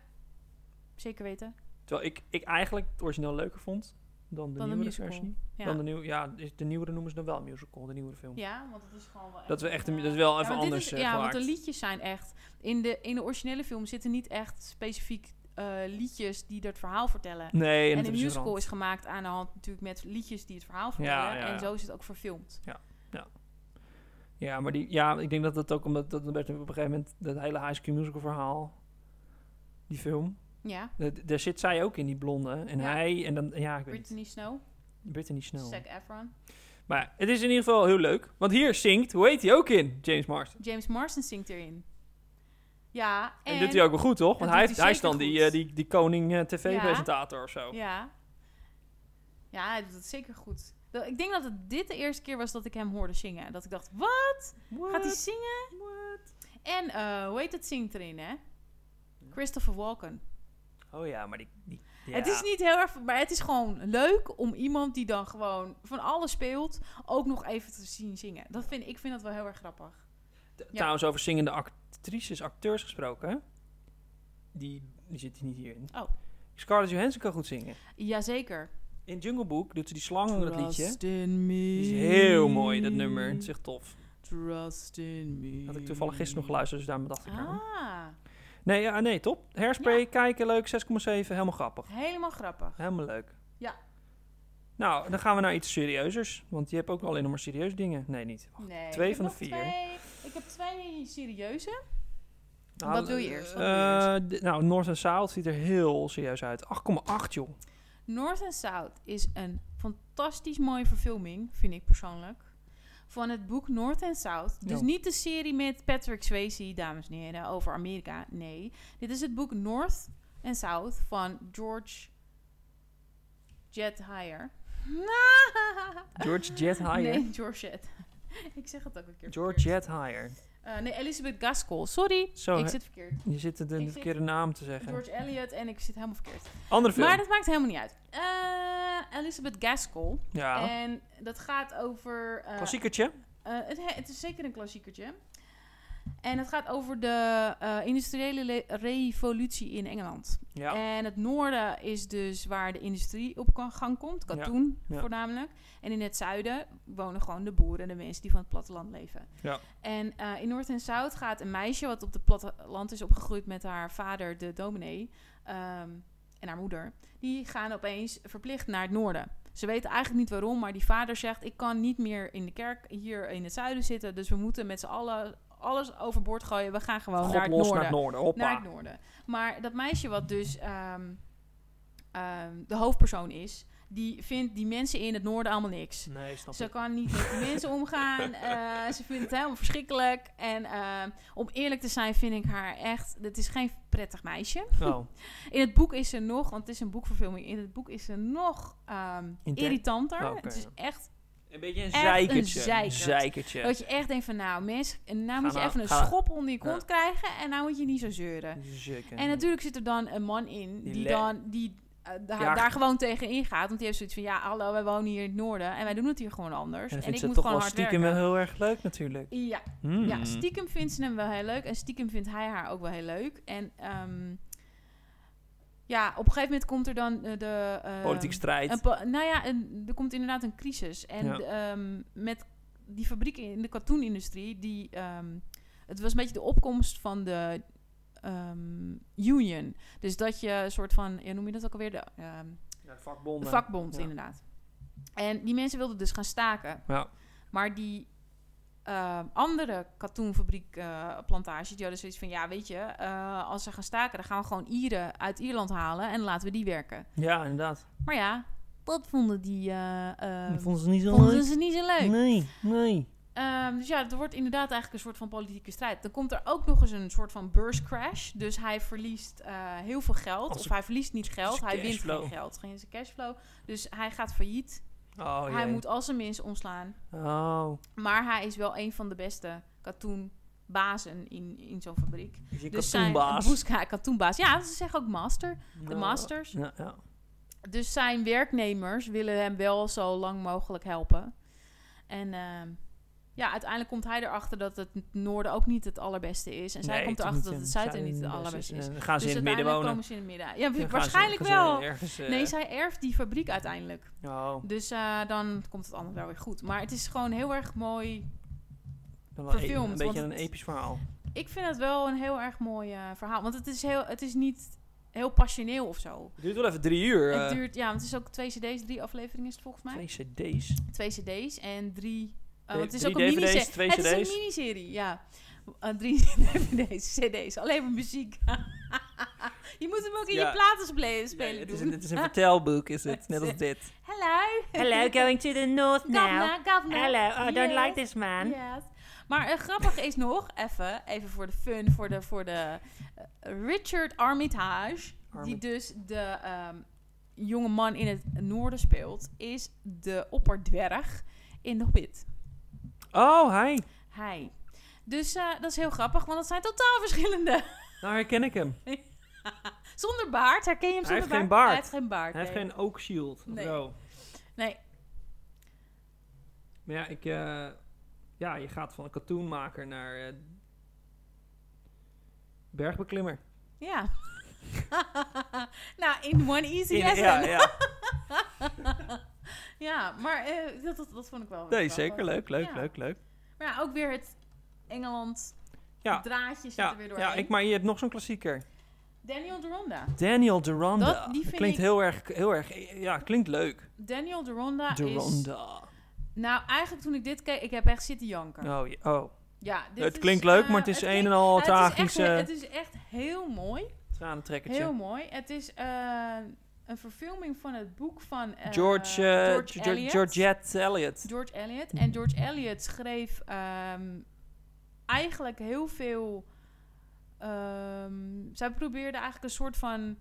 Speaker 4: Zeker weten.
Speaker 3: Terwijl ik, ik eigenlijk het origineel leuker vond dan de
Speaker 4: Dan de
Speaker 3: nieuwere
Speaker 4: musical.
Speaker 3: versie.
Speaker 4: Ja.
Speaker 3: Dan de nieuwe... Ja, de de nieuwere noemen ze dan wel musical, de nieuwere film.
Speaker 4: Ja, want het is gewoon wel echt...
Speaker 3: Dat, we echt, een-
Speaker 4: eh,
Speaker 3: dat is wel
Speaker 4: ja,
Speaker 3: even
Speaker 4: want dit
Speaker 3: anders
Speaker 4: is-
Speaker 3: eh,
Speaker 4: Ja, want
Speaker 3: gemaakt.
Speaker 4: de liedjes zijn echt... In de, in de originele film zitten niet echt specifiek eh, liedjes die dat verhaal vertellen.
Speaker 3: Nee, en,
Speaker 4: en
Speaker 3: dat is
Speaker 4: de musical
Speaker 3: veranderd.
Speaker 4: is gemaakt aan de hand natuurlijk met liedjes die het verhaal vertellen.
Speaker 3: ja, ja.
Speaker 4: En zo is het ook verfilmd.
Speaker 3: Ja, maar die, ja, ik denk dat dat ook omdat dat werd op een gegeven moment dat hele High School Musical verhaal, die film, Eh,
Speaker 4: Ja.
Speaker 3: d- daar zit zij ook in die blonde en
Speaker 4: Ja.
Speaker 3: hij en dan ja, ik weet
Speaker 4: Brittany Snow,
Speaker 3: niet, Brittany Snell.
Speaker 4: Zac Efron.
Speaker 3: Maar het is in ieder geval heel leuk, want hier zingt, hoe heet hij ook in, James Marsden.
Speaker 4: James Marsden zingt erin. Ja, en...
Speaker 3: En, doet hij ook wel goed, toch? Want
Speaker 4: Dat
Speaker 3: hij,
Speaker 4: doet
Speaker 3: heeft-
Speaker 4: hij
Speaker 3: hij is dan
Speaker 4: zeker
Speaker 3: die,
Speaker 4: goed.
Speaker 3: eh, die, die koning eh, tv-presentator of zo.
Speaker 4: Ja. Ja, hij doet het zeker goed. Dat- Ik denk dat het dit de eerste keer was dat ik hem hoorde zingen. Dat ik dacht, wat? Gaat hij zingen? En eh, hoe heet het zingt erin, hè? Christopher Walken.
Speaker 3: Oh ja, maar die... die ja.
Speaker 4: Het is niet heel erg... Maar het is gewoon leuk om iemand die dan gewoon van alles speelt... ook nog even te zien zingen. Dat vind, ik vind dat wel heel erg grappig.
Speaker 3: T-
Speaker 4: ja.
Speaker 3: Trouwens, over zingende actrices, acteurs gesproken, hè? die, die zit hier niet hierin.
Speaker 4: Oh.
Speaker 3: Scarlett Johansson kan goed zingen.
Speaker 4: Jazeker.
Speaker 3: In Jungle Book doet ze die slang in dat liedje.
Speaker 4: Trust in me.
Speaker 3: Die is heel mooi, dat nummer. Het is echt tof.
Speaker 4: Trust in me.
Speaker 3: Had ik toevallig gisteren nog geluisterd, dus daarom dacht ik aan.
Speaker 4: Ah,
Speaker 3: Nee, ja, nee, top. Hairspray, kijken, leuk. 6,7, helemaal grappig.
Speaker 4: helemaal grappig.
Speaker 3: Helemaal leuk.
Speaker 4: Ja.
Speaker 3: Nou, dan gaan we naar iets serieuzers. Want je hebt ook alleen nog maar serieuze dingen. Nee, niet.
Speaker 4: Nee,
Speaker 3: Twee
Speaker 4: ik heb
Speaker 3: van de
Speaker 4: nog
Speaker 3: vier.
Speaker 4: twee- ik heb twee serieuze.
Speaker 3: Nou,
Speaker 4: Wat wil je eerst? Wat
Speaker 3: eh,
Speaker 4: wil je
Speaker 3: d- nou, North en South ziet er heel serieus uit. 8,8, joh.
Speaker 4: North and South is een fantastisch mooie verfilming, vind ik persoonlijk. Van het boek North and South. Dus
Speaker 3: Ja.
Speaker 4: niet de serie met Patrick Swayze, dames en heren, over Amerika. Nee, dit is het boek North and South van George Jet Hire.
Speaker 3: George Jet Higher.
Speaker 4: Nee, George Jet. ik zeg het ook een keer.
Speaker 3: George
Speaker 4: verkeerd.
Speaker 3: Jet Higher.
Speaker 4: Eh, nee, Elizabeth Gaskell. Sorry,
Speaker 3: Zo,
Speaker 4: ik
Speaker 3: hè?
Speaker 4: zit verkeerd.
Speaker 3: Je zit het
Speaker 4: Ik
Speaker 3: in de
Speaker 4: zit-
Speaker 3: verkeerde naam te zeggen.
Speaker 4: George Elliot en ik zit helemaal verkeerd.
Speaker 3: Andere film.
Speaker 4: Maar dat maakt helemaal niet uit. Eh, Elizabeth Gaskell.
Speaker 3: ja.
Speaker 4: En dat gaat over... eh,
Speaker 3: Klassiekertje.
Speaker 4: eh, het, he- het is zeker een klassiekertje. En het gaat over de eh, industriële le- revolutie in Engeland.
Speaker 3: Ja.
Speaker 4: En het noorden is dus waar de industrie op kan- gang komt.
Speaker 3: Ja,
Speaker 4: Katoen
Speaker 3: ja.
Speaker 4: voornamelijk. En in het zuiden wonen gewoon de boeren en de mensen die van het platteland leven.
Speaker 3: Ja.
Speaker 4: En eh, in Noord en Zuid gaat een meisje wat op het platteland is opgegroeid met haar vader, de dominee, ehm, en haar moeder. Die gaan opeens verplicht naar het noorden. Ze weten eigenlijk niet waarom, maar die vader zegt... ik kan niet meer in de kerk hier in het zuiden zitten... dus we moeten met z'n allen alles overboord gooien. We gaan gewoon
Speaker 3: God
Speaker 4: naar het
Speaker 3: los
Speaker 4: noorden
Speaker 3: naar het noorden. Hoppa.
Speaker 4: naar het noorden. Maar dat meisje wat dus ehm, ehm, de hoofdpersoon is, die vindt die mensen in het noorden allemaal niks.
Speaker 3: Nee, snap
Speaker 4: Ze
Speaker 3: ik.
Speaker 4: kan niet met die mensen omgaan. Eh, ze vindt het helemaal verschrikkelijk. En eh, om eerlijk te zijn vind ik haar echt... Het is geen prettig meisje.
Speaker 3: Oh,
Speaker 4: In het boek is ze nog... Want het is een boekverfilming. In het boek is ze nog ehm,
Speaker 3: Inter-
Speaker 4: irritanter.
Speaker 3: Oh, oké,
Speaker 4: het is
Speaker 3: ja.
Speaker 4: echt...
Speaker 3: een beetje een
Speaker 4: Echt een
Speaker 3: zeikertje.
Speaker 4: zeikert.
Speaker 3: zeikertje.
Speaker 4: Dat je echt denkt van... Nou, mensen... Nou moet je
Speaker 3: nou-
Speaker 4: even een
Speaker 3: ga-
Speaker 4: schop onder je
Speaker 3: Ja.
Speaker 4: kont krijgen. En nou moet je niet zo zeuren.
Speaker 3: Zeker.
Speaker 4: En natuurlijk zit er dan een man in
Speaker 3: Die
Speaker 4: die
Speaker 3: le-
Speaker 4: dan die eh, daar,
Speaker 3: Ja.
Speaker 4: daar gewoon tegen ingaat. Want die heeft zoiets van ja, hallo, wij wonen hier in het noorden en wij doen het hier gewoon anders.
Speaker 3: En dan
Speaker 4: dus-
Speaker 3: vindt
Speaker 4: En, ik
Speaker 3: ze
Speaker 4: moet
Speaker 3: het toch wel
Speaker 4: gewoon hard
Speaker 3: stiekem wel
Speaker 4: werken.
Speaker 3: heel erg leuk natuurlijk.
Speaker 4: Ja,
Speaker 3: Hmm.
Speaker 4: ja, stiekem vindt ze hem wel heel leuk en stiekem vindt hij haar ook wel heel leuk. En ehm, ja, op een gegeven moment komt er dan eh, de ehm,
Speaker 3: Politiek strijd.
Speaker 4: een po- nou ja, een- er komt inderdaad een crisis. En
Speaker 3: Ja.
Speaker 4: ehm, met die fabriek in de katoenindustrie, die, ehm, het was een beetje de opkomst van de ehm, union. Dus dat je een soort van, ja, noem je dat ook alweer? De, ehm,
Speaker 3: ja, vakbonden.
Speaker 4: de vakbond,
Speaker 3: Ja.
Speaker 4: inderdaad. En die mensen wilden dus gaan staken.
Speaker 3: Ja.
Speaker 4: Maar die ehm, andere katoenfabriek eh, plantage, die hadden zoiets van... ja, weet je, eh, als ze gaan staken... dan gaan we gewoon Ieren uit Ierland halen... en laten we die werken.
Speaker 3: ja, inderdaad.
Speaker 4: Maar ja, dat vonden die... eh, ehm,
Speaker 3: Dat vonden ze niet zo
Speaker 4: vonden
Speaker 3: leuk.
Speaker 4: ze niet zo leuk.
Speaker 3: Nee, nee.
Speaker 4: Ehm, dus ja, er wordt inderdaad eigenlijk een soort van politieke strijd. Dan komt er ook nog eens een soort van beurscrash. Dus hij verliest eh, heel veel geld.
Speaker 3: Als-
Speaker 4: Of hij verliest niet geld,
Speaker 3: zijn
Speaker 4: hij wint
Speaker 3: cashflow.
Speaker 4: geen geld. Geen zijn cashflow. Dus hij gaat failliet.
Speaker 3: Oh,
Speaker 4: hij
Speaker 3: jee.
Speaker 4: moet al zijn mensen ontslaan.
Speaker 3: Oh.
Speaker 4: Maar hij is wel een van de beste katoenbazen in, in zo'n fabriek.
Speaker 3: Is je
Speaker 4: Dus zijn
Speaker 3: katoenbaas.
Speaker 4: Boeska, katoenbaas. Ja, ze zeggen ook master. De
Speaker 3: Ja.
Speaker 4: masters.
Speaker 3: nou. Ja, ja.
Speaker 4: Dus zijn werknemers willen hem wel zo lang mogelijk helpen. En ehm, ja, uiteindelijk komt hij erachter dat het noorden ook niet het allerbeste is. En zij
Speaker 3: Nee,
Speaker 4: komt
Speaker 3: het is niet
Speaker 4: erachter dat het
Speaker 3: in-
Speaker 4: zuiden
Speaker 3: zijn
Speaker 4: niet het
Speaker 3: best
Speaker 4: allerbeste is.
Speaker 3: En eh, dan gaan ze
Speaker 4: dus
Speaker 3: in het midden
Speaker 4: uiteindelijk
Speaker 3: wonen.
Speaker 4: komen ze in het midden. Ja,
Speaker 3: Dan gaan ze- gaan
Speaker 4: waarschijnlijk
Speaker 3: ze
Speaker 4: wel.
Speaker 3: ergens, eh,
Speaker 4: Nee, zij erft die fabriek uiteindelijk.
Speaker 3: oh,
Speaker 4: Dus eh, dan komt het allemaal wel weer goed. Maar het is gewoon heel erg mooi.
Speaker 3: dan wel e-
Speaker 4: verfilmd,
Speaker 3: Een beetje
Speaker 4: want
Speaker 3: een
Speaker 4: het-
Speaker 3: episch verhaal.
Speaker 4: Ik vind het wel een heel erg mooi eh, verhaal. Want het is, heel, het is niet heel passioneel of zo.
Speaker 3: Het duurt wel even drie uur.
Speaker 4: het
Speaker 3: eh,
Speaker 4: duurt, ja, want het is ook twee cd's, drie afleveringen is het volgens mij.
Speaker 3: Twee cd's.
Speaker 4: twee cd's en drie... eh,
Speaker 3: D-
Speaker 4: want het is
Speaker 3: drie
Speaker 4: ook een
Speaker 3: DVD's,
Speaker 4: miniserie.
Speaker 3: twee
Speaker 4: Het is
Speaker 3: CD's.
Speaker 4: een miniserie, ja. Eh, drie DVD's, cd's, alleen maar muziek. je moet hem ook in
Speaker 3: Ja.
Speaker 4: je platenspeler spelen
Speaker 3: het,
Speaker 4: doen.
Speaker 3: is een, het is een vertelboek, is het. Net als dit.
Speaker 4: Hello,
Speaker 1: Hello, going to the north now.
Speaker 4: governor, governor.
Speaker 1: Hello, I Oh, don't
Speaker 4: Yes,
Speaker 1: like this man.
Speaker 4: yes. Maar eh, grappig is nog, even, even voor de fun, voor de, voor de eh, Richard Armitage, die
Speaker 3: Armit-
Speaker 4: dus de ehm, jonge man in het noorden speelt, is de opperdwerg in The Hobbit.
Speaker 3: Oh, hi.
Speaker 4: Hij. Dus eh, dat is heel grappig, want dat zijn totaal verschillende.
Speaker 3: Nou herken ik hem.
Speaker 4: Zonder baard, herken je hem
Speaker 3: Hij
Speaker 4: zonder
Speaker 3: heeft geen
Speaker 4: baard?
Speaker 3: baard.
Speaker 4: Hij heeft geen baard.
Speaker 3: Hij heeft
Speaker 4: nee.
Speaker 3: geen oak shield.
Speaker 4: Nee.
Speaker 3: Zo.
Speaker 4: Nee.
Speaker 3: Maar ja, ik, eh, ja, je gaat van een katoenmaker naar eh, bergbeklimmer.
Speaker 4: Ja. nou, in one easy
Speaker 3: In-
Speaker 4: lesson.
Speaker 3: ja, ja.
Speaker 4: Ja, maar eh, dat, dat, dat vond ik wel.
Speaker 3: Nee,
Speaker 4: wel
Speaker 3: zeker.
Speaker 4: grappig.
Speaker 3: Leuk, leuk,
Speaker 4: Ja.
Speaker 3: leuk, leuk.
Speaker 4: Maar ja, ook weer het Engeland
Speaker 3: Ja.
Speaker 4: draadje zit er
Speaker 3: Ja,
Speaker 4: weer doorheen.
Speaker 3: ja ik, maar je hebt nog zo'n klassieker.
Speaker 4: Daniel Deronda.
Speaker 3: Daniel Deronda.
Speaker 4: Dat- die vind
Speaker 3: klinkt
Speaker 4: ik-
Speaker 3: heel erg, heel erg, ja, klinkt leuk.
Speaker 4: Daniel Deronda, is...
Speaker 3: Deronda.
Speaker 4: Nou, eigenlijk toen ik dit keek, ik heb echt zitten janken.
Speaker 3: Oh, je- oh.
Speaker 4: Ja, dit
Speaker 3: het
Speaker 4: is,
Speaker 3: klinkt leuk,
Speaker 4: eh,
Speaker 3: maar het is een
Speaker 4: klinkt-
Speaker 3: en al
Speaker 4: Ja, het is echt-
Speaker 3: tragische
Speaker 4: Het is echt heel mooi.
Speaker 3: tranentrekkertje.
Speaker 4: Heel mooi. Het is eh, een verfilming van het boek van eh,
Speaker 3: George, eh, George,
Speaker 4: Eliot.
Speaker 3: Georgette Elliot.
Speaker 4: George Eliot. En George Eliot schreef ehm, eigenlijk heel veel. ehm, zij probeerde eigenlijk een soort van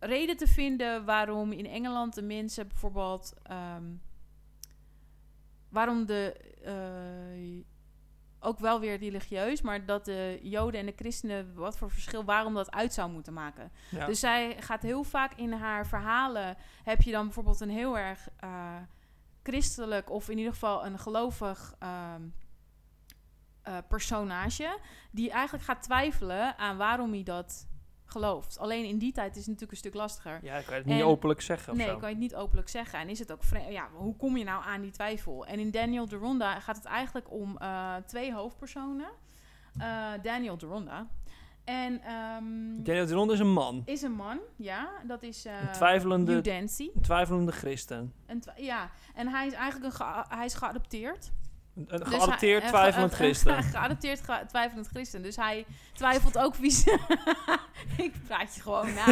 Speaker 4: reden te vinden waarom in Engeland de mensen bijvoorbeeld. ehm, waarom de. eh, ook wel weer religieus, maar dat de Joden en de christenen wat voor verschil, waarom dat uit zou moeten maken.
Speaker 3: Ja.
Speaker 4: Dus zij gaat heel vaak in haar verhalen. Heb je dan bijvoorbeeld een heel erg eh, christelijk of in ieder geval een gelovig ehm, eh, personage. Die eigenlijk gaat twijfelen aan waarom hij dat gelooft. Alleen in die tijd is het natuurlijk een stuk lastiger.
Speaker 3: ja, ik kan het niet
Speaker 4: En-
Speaker 3: openlijk zeggen of
Speaker 4: Nee,
Speaker 3: zo.
Speaker 4: kan je het niet openlijk zeggen. En is het ook vreemd? Ja, hoe kom je nou aan die twijfel? En in Daniel Deronda gaat het eigenlijk om eh, twee hoofdpersonen. Eh, Daniel Deronda. En ehm,
Speaker 3: Daniel Deronda is een man.
Speaker 4: is een man, ja. Dat is eh
Speaker 3: Een twijfelende-
Speaker 4: Hugh Dancy.
Speaker 3: Een twijfelende christen.
Speaker 4: Een twa- ja, en hij is eigenlijk een ge- hij is geadopteerd.
Speaker 3: Een
Speaker 4: Dus
Speaker 3: geadopteerd
Speaker 4: hij- eh,
Speaker 3: twijfelend
Speaker 4: ge-
Speaker 3: christen.
Speaker 4: ge- geadopteerd ge- twijfelend christen. Dus hij twijfelt ook wie ze... ik praat je gewoon na.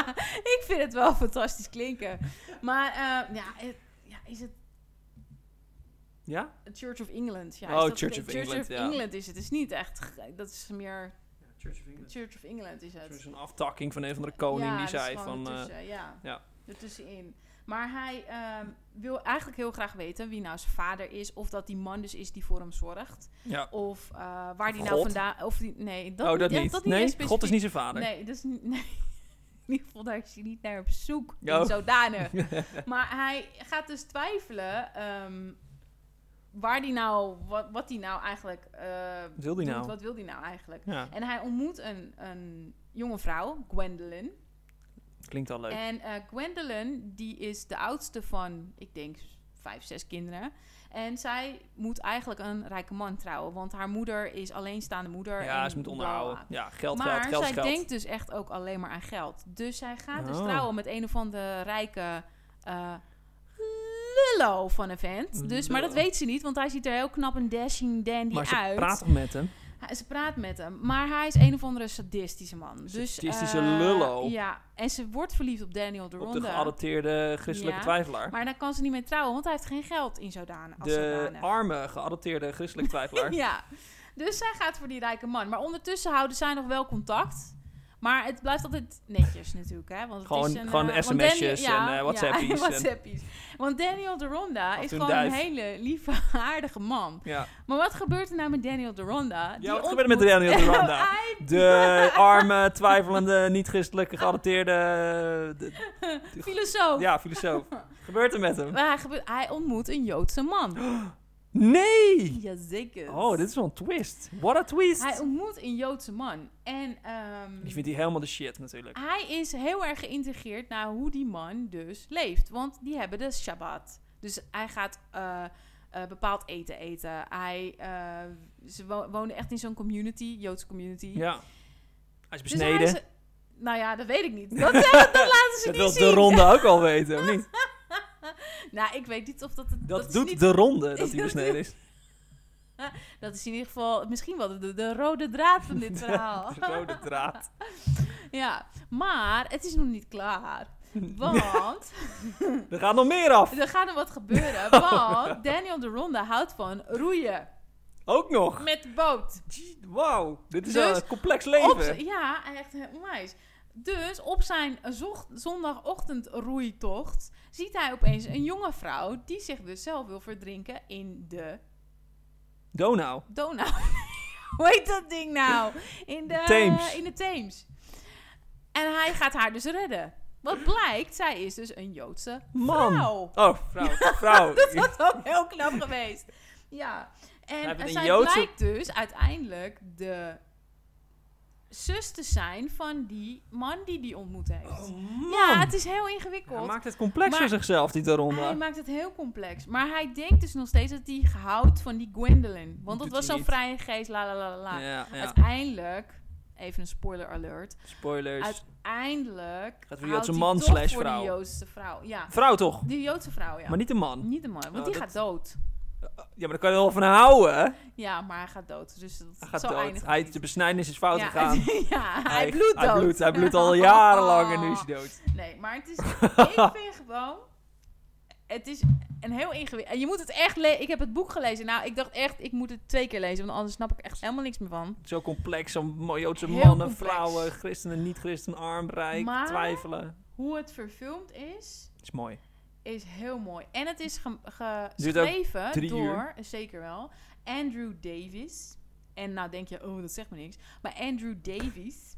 Speaker 4: ik vind het wel fantastisch klinken. Maar eh, ja, het- ja, is het
Speaker 3: Ja?
Speaker 4: Church of England? Ja,
Speaker 3: Oh,
Speaker 4: is dat-
Speaker 3: Church of England,
Speaker 4: of
Speaker 3: ja.
Speaker 4: England is het. Het is niet echt... ge- Dat is meer...
Speaker 3: Church of England.
Speaker 4: Church of England is het.
Speaker 3: Zo'n zo'n aftakking van een van de koning
Speaker 4: Ja,
Speaker 3: die
Speaker 4: dat is
Speaker 3: zei
Speaker 4: gewoon
Speaker 3: van... eh,
Speaker 4: ertussen, ja,
Speaker 3: ja.
Speaker 4: ertussenin. Maar hij ehm, wil eigenlijk heel graag weten wie nou zijn vader is. Of dat die man dus is die voor hem zorgt.
Speaker 3: ja.
Speaker 4: Of eh, waar die nou
Speaker 3: God?
Speaker 4: vandaan... Of die, nee, dat
Speaker 3: oh, dat
Speaker 4: ja,
Speaker 3: niet.
Speaker 4: dat
Speaker 3: nee,
Speaker 4: eens
Speaker 3: God is
Speaker 4: specifiek.
Speaker 3: niet zijn vader.
Speaker 4: Nee, dat is niet... Nee. In ieder geval, daar is hij niet naar op zoek.
Speaker 3: Ja.
Speaker 4: in Zodanig. maar hij gaat dus twijfelen... ehm, waar die nou... Wat, wat die nou eigenlijk... eh,
Speaker 3: Wil die
Speaker 4: doet.
Speaker 3: nou?
Speaker 4: Wat wil die nou eigenlijk?
Speaker 3: Ja,
Speaker 4: En hij ontmoet een, een jonge vrouw, Gwendolyn.
Speaker 3: klinkt al leuk.
Speaker 4: En eh, Gwendolyn, die is de oudste van, ik denk, vijf, zes kinderen. En zij moet eigenlijk een rijke man trouwen. Want haar moeder is alleenstaande moeder.
Speaker 3: ja,
Speaker 4: en
Speaker 3: ze moet
Speaker 4: bla,
Speaker 3: onderhouden.
Speaker 4: bla, bla.
Speaker 3: Ja, geld,
Speaker 4: maar
Speaker 3: geld, geld,
Speaker 4: zij
Speaker 3: geld.
Speaker 4: denkt dus echt ook alleen maar aan geld. Dus zij gaat dus
Speaker 3: Oh.
Speaker 4: trouwen met een van de rijke... eh lullo van een vent. Dus, maar dat
Speaker 3: Lullo.
Speaker 4: weet ze niet, want hij ziet er heel knap en dashing dandy
Speaker 3: maar ze
Speaker 4: uit.
Speaker 3: praat toch met hem?
Speaker 4: Hij- Ze praat met hem, maar hij is een of andere sadistische man.
Speaker 3: Sadistische
Speaker 4: dus, eh,
Speaker 3: lullo.
Speaker 4: Ja, en ze wordt verliefd op Daniel de
Speaker 3: Op de
Speaker 4: Ronde.
Speaker 3: geadopteerde christelijke
Speaker 4: Ja.
Speaker 3: twijfelaar.
Speaker 4: Maar daar kan ze niet mee trouwen, want hij heeft geen geld in zodanig. Als
Speaker 3: De
Speaker 4: zodanig.
Speaker 3: arme geadopteerde christelijke twijfelaar.
Speaker 4: Ja, dus zij gaat voor die rijke man. Maar ondertussen houden zij nog wel contact. Maar het blijft altijd netjes natuurlijk, hè? Want het
Speaker 3: Gewoon-
Speaker 4: is een,
Speaker 3: gewoon
Speaker 4: eh, want
Speaker 3: sms'jes
Speaker 4: Daniel-
Speaker 3: en, eh, WhatsAppies en-
Speaker 4: Ja, WhatsAppies. Want Daniel de Ronda
Speaker 3: en
Speaker 4: is
Speaker 3: een
Speaker 4: gewoon
Speaker 3: duif.
Speaker 4: een hele lieve, aardige man.
Speaker 3: Ja.
Speaker 4: Maar wat gebeurt er nou met Daniel de Ronda? Die
Speaker 3: Ja, wat gebeurt er met
Speaker 4: ontmoet-
Speaker 3: Daniel de Ronda?
Speaker 4: Hij
Speaker 3: De arme, twijfelende, niet-christelijke geadopteerde... de-
Speaker 4: filosoof.
Speaker 3: ja, filosoof. Gebeurt er met hem?
Speaker 4: Maar hij, gebe- hij ontmoet een Joodse man.
Speaker 3: Nee!
Speaker 4: Jazeker.
Speaker 3: Oh, dit is wel een twist. What a twist!
Speaker 4: Hij ontmoet een Joodse man. En ehm,
Speaker 3: Ik vind die helemaal de shit natuurlijk.
Speaker 4: hij is heel erg geïntegreerd naar hoe die man dus leeft. Want die hebben de Shabbat. Dus hij gaat eh, eh, bepaald eten eten. Hij, eh, ze wo- wonen echt in zo'n community, Joodse community.
Speaker 3: Ja. Hij is
Speaker 4: Dus hij
Speaker 3: besneden.
Speaker 4: is- nou ja, dat weet ik niet. Dat, eh, dat laten ze
Speaker 3: dat
Speaker 4: niet
Speaker 3: wil de
Speaker 4: zien.
Speaker 3: ronde ook al weten, of niet?
Speaker 4: Nou, ik weet niet of dat... het-
Speaker 3: Dat,
Speaker 4: is
Speaker 3: doet
Speaker 4: niet-
Speaker 3: de ronde, dat
Speaker 4: dat
Speaker 3: hij besneden is.
Speaker 4: Dat is in ieder geval misschien wel de, de rode draad van dit verhaal.
Speaker 3: De rode draad.
Speaker 4: Ja, maar het is nog niet klaar. Want
Speaker 3: Er gaat nog meer af.
Speaker 4: er gaat er wat gebeuren. Want Daniel de Ronde houdt van roeien
Speaker 3: Ook nog.
Speaker 4: met de boot.
Speaker 3: Gee, Wauw, dit is
Speaker 4: Dus
Speaker 3: wel een complex
Speaker 4: Op,
Speaker 3: leven.
Speaker 4: ja, echt heel nice. Dus op zijn zocht- zondagochtend roeitocht ziet hij opeens een jonge vrouw die zich dus zelf wil verdrinken in de
Speaker 3: Donau.
Speaker 4: Donau. Hoe heet dat ding nou? In de
Speaker 3: Theems.
Speaker 4: In de Theems. En hij gaat haar dus redden. Wat blijkt, zij is dus een Joodse
Speaker 3: Man.
Speaker 4: vrouw.
Speaker 3: Oh, vrouw, vrouw.
Speaker 4: Dat is ook heel knap geweest. Ja.
Speaker 3: Hij
Speaker 4: En
Speaker 3: heeft een
Speaker 4: zij
Speaker 3: Joodse-
Speaker 4: blijkt dus uiteindelijk de zus te zijn van die man die die ontmoet heeft.
Speaker 3: Oh, man.
Speaker 4: ja, het is heel
Speaker 3: Hij
Speaker 4: ingewikkeld.
Speaker 3: maakt het complex voor
Speaker 4: Maar-
Speaker 3: zichzelf, die
Speaker 4: Hij
Speaker 3: Daronda.
Speaker 4: maakt het heel complex. Maar hij denkt dus nog steeds dat hij houdt van die Gwendolyn. Want dat
Speaker 3: Doet hij
Speaker 4: was zo'n
Speaker 3: niet.
Speaker 4: vrije geest, la la la la, la.
Speaker 3: Ja, ja.
Speaker 4: Uiteindelijk, even een spoiler alert.
Speaker 3: Spoilers.
Speaker 4: Uiteindelijk
Speaker 3: Gaat voor die
Speaker 4: houdt
Speaker 3: Joodse
Speaker 4: hij
Speaker 3: man
Speaker 4: toch
Speaker 3: slash
Speaker 4: voor
Speaker 3: vrouw.
Speaker 4: die Joodse vrouw. Ja,
Speaker 3: Vrouw toch?
Speaker 4: die Joodse vrouw, ja.
Speaker 3: Maar niet een man.
Speaker 4: Niet de man, want
Speaker 3: Oh,
Speaker 4: die
Speaker 3: dat-
Speaker 4: gaat dood.
Speaker 3: Ja, maar daar kan je wel van houden. hè?
Speaker 4: Ja, maar hij gaat dood. Dus dat
Speaker 3: Hij gaat
Speaker 4: zo
Speaker 3: dood.
Speaker 4: eindigt
Speaker 3: Hij,
Speaker 4: het
Speaker 3: de
Speaker 4: niet.
Speaker 3: besnijdenis is fout
Speaker 4: ja,
Speaker 3: gegaan.
Speaker 4: ja, hij, bloedt dood.
Speaker 3: Hij bloedt, hij bloedt al jarenlang en nu is
Speaker 4: Oh.
Speaker 3: hij dood.
Speaker 4: Nee, maar het is... ik vind gewoon... Het is een heel ingewikkeld... En je moet het echt lezen. Ik heb het boek gelezen. Nou, ik dacht echt, ik moet het twee keer lezen. Want anders snap ik echt helemaal niks meer van.
Speaker 3: Zo complex, zo'n mooie Joodse
Speaker 4: Heel
Speaker 3: mannen,
Speaker 4: complex.
Speaker 3: vrouwen, christenen, niet-christenen, arm, rijk,
Speaker 4: Maar-
Speaker 3: twijfelen.
Speaker 4: Hoe het verfilmd is,
Speaker 3: is mooi.
Speaker 4: is heel mooi. En het is ge- ge-
Speaker 3: Duurt ook
Speaker 4: geschreven
Speaker 3: drie
Speaker 4: door, zeker wel, Andrew Davies. En nou denk je, oh, dat zegt me niks. Maar Andrew Davies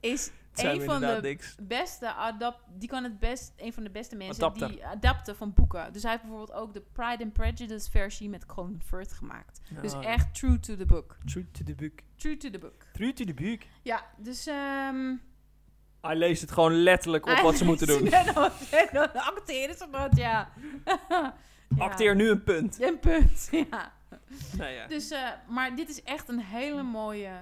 Speaker 4: is
Speaker 3: Het zijn
Speaker 4: een
Speaker 3: we
Speaker 4: van
Speaker 3: inderdaad
Speaker 4: de
Speaker 3: niks.
Speaker 4: beste adap die kan het best een van de beste mensen
Speaker 3: Adapter.
Speaker 4: die adapten van boeken. Dus hij heeft bijvoorbeeld ook de Pride and Prejudice versie met Colin Firth gemaakt. dus
Speaker 3: Ah,
Speaker 4: echt true to the book.
Speaker 3: True to the book.
Speaker 4: True to the book.
Speaker 3: True to the book.
Speaker 4: Ja, dus ehm
Speaker 3: Hij leest het gewoon letterlijk op wat ze moeten doen.
Speaker 4: Acteren ze dat, ja. ja.
Speaker 3: Acteer nu een punt.
Speaker 4: Een punt, ja.
Speaker 3: Nou ja.
Speaker 4: Dus, eh, maar dit is echt een hele mooie
Speaker 3: Als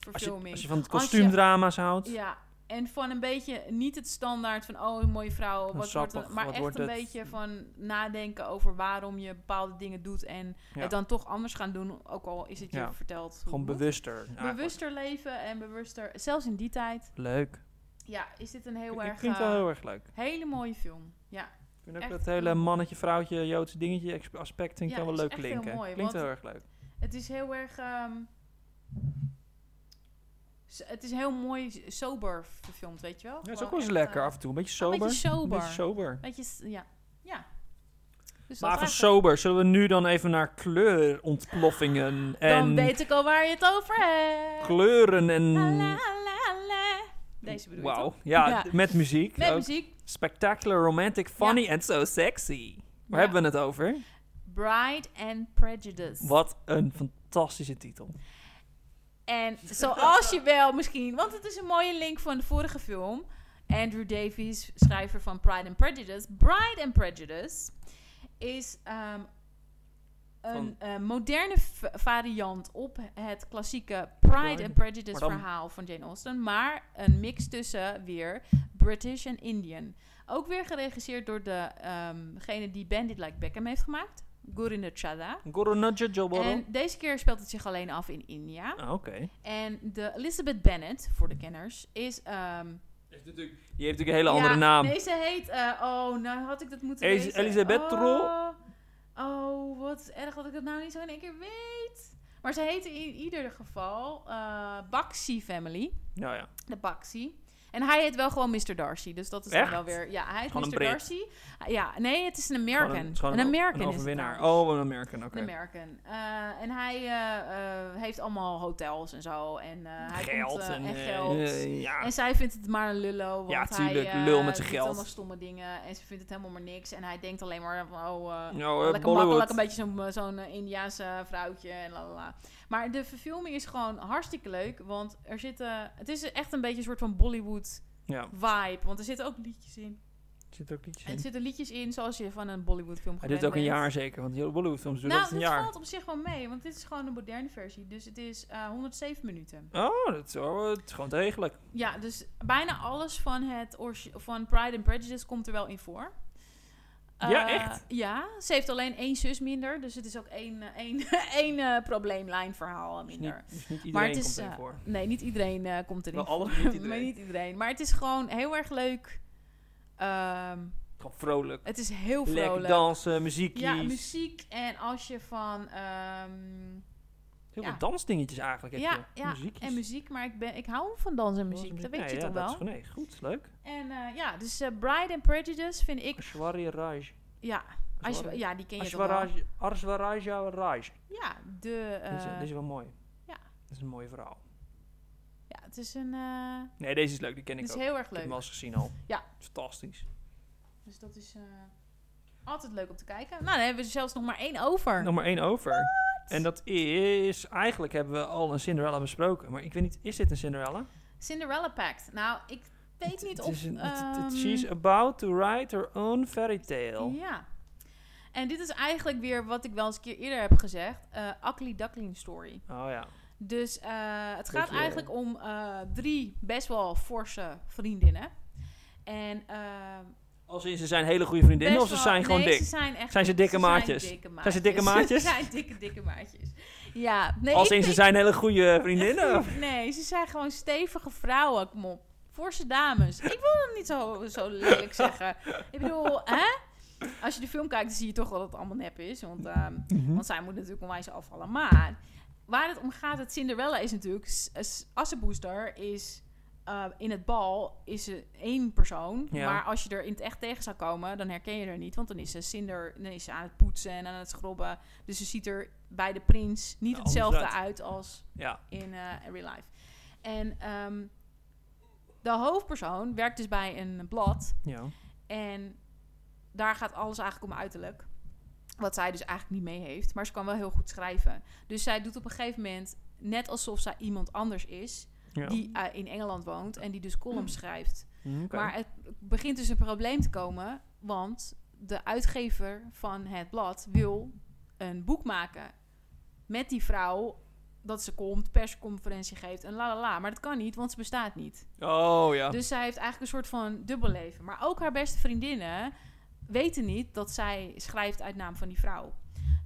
Speaker 3: je,
Speaker 4: verfilming.
Speaker 3: als je van het
Speaker 4: Als je-
Speaker 3: kostuumdrama's houdt.
Speaker 4: Ja, En van een beetje niet het standaard van oh, een mooie vrouw, wat wordt
Speaker 3: sappig,
Speaker 4: het, maar
Speaker 3: wat
Speaker 4: echt
Speaker 3: wordt
Speaker 4: een
Speaker 3: het?
Speaker 4: beetje van nadenken over waarom je bepaalde dingen doet en
Speaker 3: Ja.
Speaker 4: het dan toch anders gaan doen, ook al is het je
Speaker 3: Ja.
Speaker 4: verteld. hoe
Speaker 3: Gewoon
Speaker 4: het moet.
Speaker 3: bewuster. eigenlijk.
Speaker 4: Bewuster leven en bewuster, zelfs in die tijd,
Speaker 3: Leuk.
Speaker 4: ja, is dit een heel
Speaker 3: ik
Speaker 4: erg,
Speaker 3: vind het wel
Speaker 4: eh,
Speaker 3: heel erg leuk.
Speaker 4: hele mooie film. Ja,
Speaker 3: Ik vind ook
Speaker 4: echt
Speaker 3: dat hele
Speaker 4: heel-
Speaker 3: mannetje-vrouwtje, Joods dingetje ex- aspect vind ik
Speaker 4: Ja,
Speaker 3: dan wel
Speaker 4: is
Speaker 3: leuk
Speaker 4: echt heel
Speaker 3: klinken.
Speaker 4: mooi,
Speaker 3: Klinkt
Speaker 4: want-
Speaker 3: heel erg leuk.
Speaker 4: Het is heel erg. ehm, s- het is heel mooi s- sober verfilmd, weet je wel?
Speaker 3: Ja, is
Speaker 4: Gewoon
Speaker 3: ook wel eens
Speaker 4: echt,
Speaker 3: lekker
Speaker 4: eh,
Speaker 3: af en toe. Een beetje
Speaker 4: een
Speaker 3: sober.
Speaker 4: beetje sober.
Speaker 3: Een beetje sober.
Speaker 4: beetje s- ja. ja. Dus dat
Speaker 3: Maar van
Speaker 4: eigenlijk-
Speaker 3: sober, zullen we nu dan even naar kleurontploffingen
Speaker 4: Dan
Speaker 3: en
Speaker 4: weet ik al waar je het over hebt.
Speaker 3: kleuren en...
Speaker 4: La, la, la, la. Deze bedoel je
Speaker 3: Wauw,
Speaker 4: toch?
Speaker 3: ja,
Speaker 4: Ja.
Speaker 3: d- met muziek.
Speaker 4: Met
Speaker 3: ook.
Speaker 4: muziek.
Speaker 3: Spectacular, romantic, funny en so sexy. Waar
Speaker 4: Ja.
Speaker 3: hebben we het over?
Speaker 4: Bride and Prejudice.
Speaker 3: Wat een fantastische titel.
Speaker 4: En zoals je wel misschien, want het is een mooie link van de vorige film. Andrew Davies, schrijver van Pride and Prejudice. Pride and Prejudice is ehm, een eh, moderne v- variant op het klassieke Pride
Speaker 3: Pride.
Speaker 4: and Prejudice
Speaker 3: Maar dan-
Speaker 4: verhaal van Jane Austen. Maar een mix tussen weer British en Indian. Ook weer geregisseerd door ehm, degene die Bandit Like Beckham heeft gemaakt. Gurinder Chadha.
Speaker 3: Gorunadja
Speaker 4: En deze keer speelt het zich alleen af in India.
Speaker 3: Ah, oké.
Speaker 4: En de Elizabeth Bennet, voor de kenners, is... ehm
Speaker 3: Die heeft natuurlijk een hele andere
Speaker 4: ja,
Speaker 3: naam.
Speaker 4: Nee, ze heet... eh, oh, nou had ik dat moeten
Speaker 3: Elis-
Speaker 4: weten.
Speaker 3: Elisabeth Trol.
Speaker 4: Oh, oh, wat erg dat ik dat nou niet zo in één keer weet. Maar ze heette in ieder geval eh Baxi Family.
Speaker 3: Nou ja,
Speaker 4: De Baxi. En hij heet wel gewoon Mr. Darcy, dus dat is dan
Speaker 3: Echt?
Speaker 4: wel weer... Ja, hij heet
Speaker 3: Gewoon een
Speaker 4: Mr.
Speaker 3: Brit.
Speaker 4: Darcy. Ja, nee, het is een American.
Speaker 3: gewoon het is gewoon
Speaker 4: een, American
Speaker 3: een
Speaker 4: is het
Speaker 3: overwinnaar.
Speaker 4: trouwens.
Speaker 3: oh, een American, oké.
Speaker 4: Een American. Eh, en hij eh, eh, heeft allemaal hotels en zo. En eh, hij
Speaker 3: Geld
Speaker 4: komt, eh,
Speaker 3: en,
Speaker 4: en
Speaker 3: eh,
Speaker 4: geld.
Speaker 3: eh, ja.
Speaker 4: En zij vindt het maar een lullo. Want
Speaker 3: Ja, tuurlijk,
Speaker 4: Hij, eh,
Speaker 3: lul met zijn
Speaker 4: doet
Speaker 3: geld.
Speaker 4: allemaal stomme dingen. En ze vindt het helemaal maar niks. En hij denkt alleen maar van, oh, eh,
Speaker 3: Nou, eh,
Speaker 4: lekker
Speaker 3: Bollywood.
Speaker 4: makkelijk. Een beetje zo'n eh, zo'n eh, Indiaanse vrouwtje en la la la. Maar de verfilming is gewoon hartstikke leuk. Want er zitten... Het is echt een beetje een soort van Bollywood
Speaker 3: Ja, er
Speaker 4: vibe. Want er zitten ook liedjes in.
Speaker 3: zit ook liedjes
Speaker 4: En
Speaker 3: in.
Speaker 4: er zitten liedjes in zoals je van een Bollywood film
Speaker 3: Hij doet ook een jaar zeker, want die Bollywoodfilms doen
Speaker 4: nou,
Speaker 3: dat een
Speaker 4: dit
Speaker 3: jaar.
Speaker 4: valt op zich wel mee, want dit is gewoon een moderne versie. Dus het is eh, 107 minuten.
Speaker 3: Oh, dat is, wel- het is gewoon degelijk.
Speaker 4: Ja, dus bijna alles van, het orgi- van Pride and Prejudice komt er wel in voor.
Speaker 3: Ja,
Speaker 4: Eh,
Speaker 3: echt?
Speaker 4: Ja, ze heeft alleen één zus minder. Dus het is ook één, eh, één, één eh, probleemlijn verhaal
Speaker 3: Dus
Speaker 4: minder.
Speaker 3: niet, dus niet iedereen
Speaker 4: Maar het
Speaker 3: komt
Speaker 4: is,
Speaker 3: erin
Speaker 4: eh,
Speaker 3: voor.
Speaker 4: Nee, niet iedereen eh, komt erin
Speaker 3: Wel alles,
Speaker 4: voor.
Speaker 3: niet iedereen.
Speaker 4: maar niet iedereen. Maar het is gewoon heel erg leuk. Ehm,
Speaker 3: Gewoon vrolijk.
Speaker 4: het is heel
Speaker 3: Lekker
Speaker 4: vrolijk.
Speaker 3: dansen, muziekjes.
Speaker 4: ja, muziek. En als je van... ehm,
Speaker 3: Heel
Speaker 4: ja.
Speaker 3: veel dansdingetjes eigenlijk heb
Speaker 4: Ja,
Speaker 3: je.
Speaker 4: ja
Speaker 3: Muziekjes.
Speaker 4: en muziek, maar ik, ben, ik hou van dans en muziek, dat weet je
Speaker 3: ja, dat
Speaker 4: toch wel?
Speaker 3: Is, nee, goed, leuk.
Speaker 4: En eh, ja, dus eh, Bride and Prejudice vind ik,
Speaker 3: Ashwari Raj.
Speaker 4: ja, als,
Speaker 3: Ashwari-
Speaker 4: ja die ken je toch wel?
Speaker 3: Ashwaraj- Ashwaraja Raj.
Speaker 4: Ja, de, eh,
Speaker 3: deze, deze is wel mooi.
Speaker 4: ja.
Speaker 3: Dat is een mooi verhaal.
Speaker 4: ja, het is een, eh
Speaker 3: Nee, deze is leuk, die ken ik
Speaker 4: het is
Speaker 3: ook.
Speaker 4: heel erg
Speaker 3: Ik heb hem
Speaker 4: leuk.
Speaker 3: al eens gezien al.
Speaker 4: Ja.
Speaker 3: Fantastisch.
Speaker 4: Dus dat is eh, altijd leuk om te kijken. Nou, dan hebben we er zelfs nog maar één over.
Speaker 3: Nog maar één over. En dat is... Eigenlijk hebben we al een Cinderella besproken. Maar ik weet niet, is dit een Cinderella?
Speaker 4: Cinderella Pact. Nou, ik weet niet
Speaker 3: Het
Speaker 4: of...
Speaker 3: is een- het- het-
Speaker 4: ehm,
Speaker 3: she's about to write her own fairy tale.
Speaker 4: Ja. En dit is eigenlijk weer wat ik wel eens een keer eerder heb gezegd. eh Ugly Duckling Story.
Speaker 3: Oh ja.
Speaker 4: Dus eh, het gaat
Speaker 3: Beetje-
Speaker 4: eigenlijk om eh, drie best wel forse vriendinnen. En, eh,
Speaker 3: Als in, ze zijn hele goede vriendinnen
Speaker 4: best
Speaker 3: of ze
Speaker 4: wel-
Speaker 3: zijn gewoon
Speaker 4: nee,
Speaker 3: dik?
Speaker 4: Ze zijn, echt,
Speaker 3: Zijn ze dikke maatjes?
Speaker 4: Zijn dikke maatjes.
Speaker 3: Zijn ze dikke maatjes?
Speaker 4: ze zijn dikke, dikke maatjes. Ja. Nee,
Speaker 3: Als
Speaker 4: ik
Speaker 3: in, ze
Speaker 4: denk-
Speaker 3: zijn hele goede vriendinnen? of-
Speaker 4: Nee, ze zijn gewoon stevige vrouwen, kom op. Forse dames. Ik wil hem niet zo, zo lelijk zeggen. Ik bedoel, hè? Als je de film kijkt, dan zie je toch wel dat het allemaal nep is. Want, ehm, want zij moet natuurlijk onwijs afvallen. Maar waar het om gaat, het Cinderella is natuurlijk... s- s- Assenpoester is... eh, in het bal is ze één persoon.
Speaker 3: Ja.
Speaker 4: Maar als je er in het echt tegen zou komen, dan herken je haar niet. Want dan is ze cinder, dan is ze aan het poetsen en aan het schrobben. Dus ze ziet er bij de prins niet
Speaker 3: Ja, Nou, anders
Speaker 4: hetzelfde
Speaker 3: uit.
Speaker 4: uit als
Speaker 3: Ja.
Speaker 4: in eh, real life. En ehm, de hoofdpersoon werkt dus bij een blad.
Speaker 3: ja.
Speaker 4: En daar gaat alles eigenlijk om uiterlijk. Wat zij dus eigenlijk niet mee heeft. Maar ze kan wel heel goed schrijven. Dus zij doet op een gegeven moment net alsof zij iemand anders is.
Speaker 3: ja.
Speaker 4: Die eh, in Engeland woont en die dus columns schrijft.
Speaker 3: Mm, oké.
Speaker 4: Maar het begint dus een probleem te komen, want de uitgever van het blad wil een boek maken met die vrouw dat ze komt, persconferentie geeft en la la la. Maar dat kan niet, want ze bestaat niet.
Speaker 3: Oh ja.
Speaker 4: Dus zij heeft eigenlijk een soort van dubbel leven. Maar ook haar beste vriendinnen weten niet dat zij schrijft uit naam van die vrouw.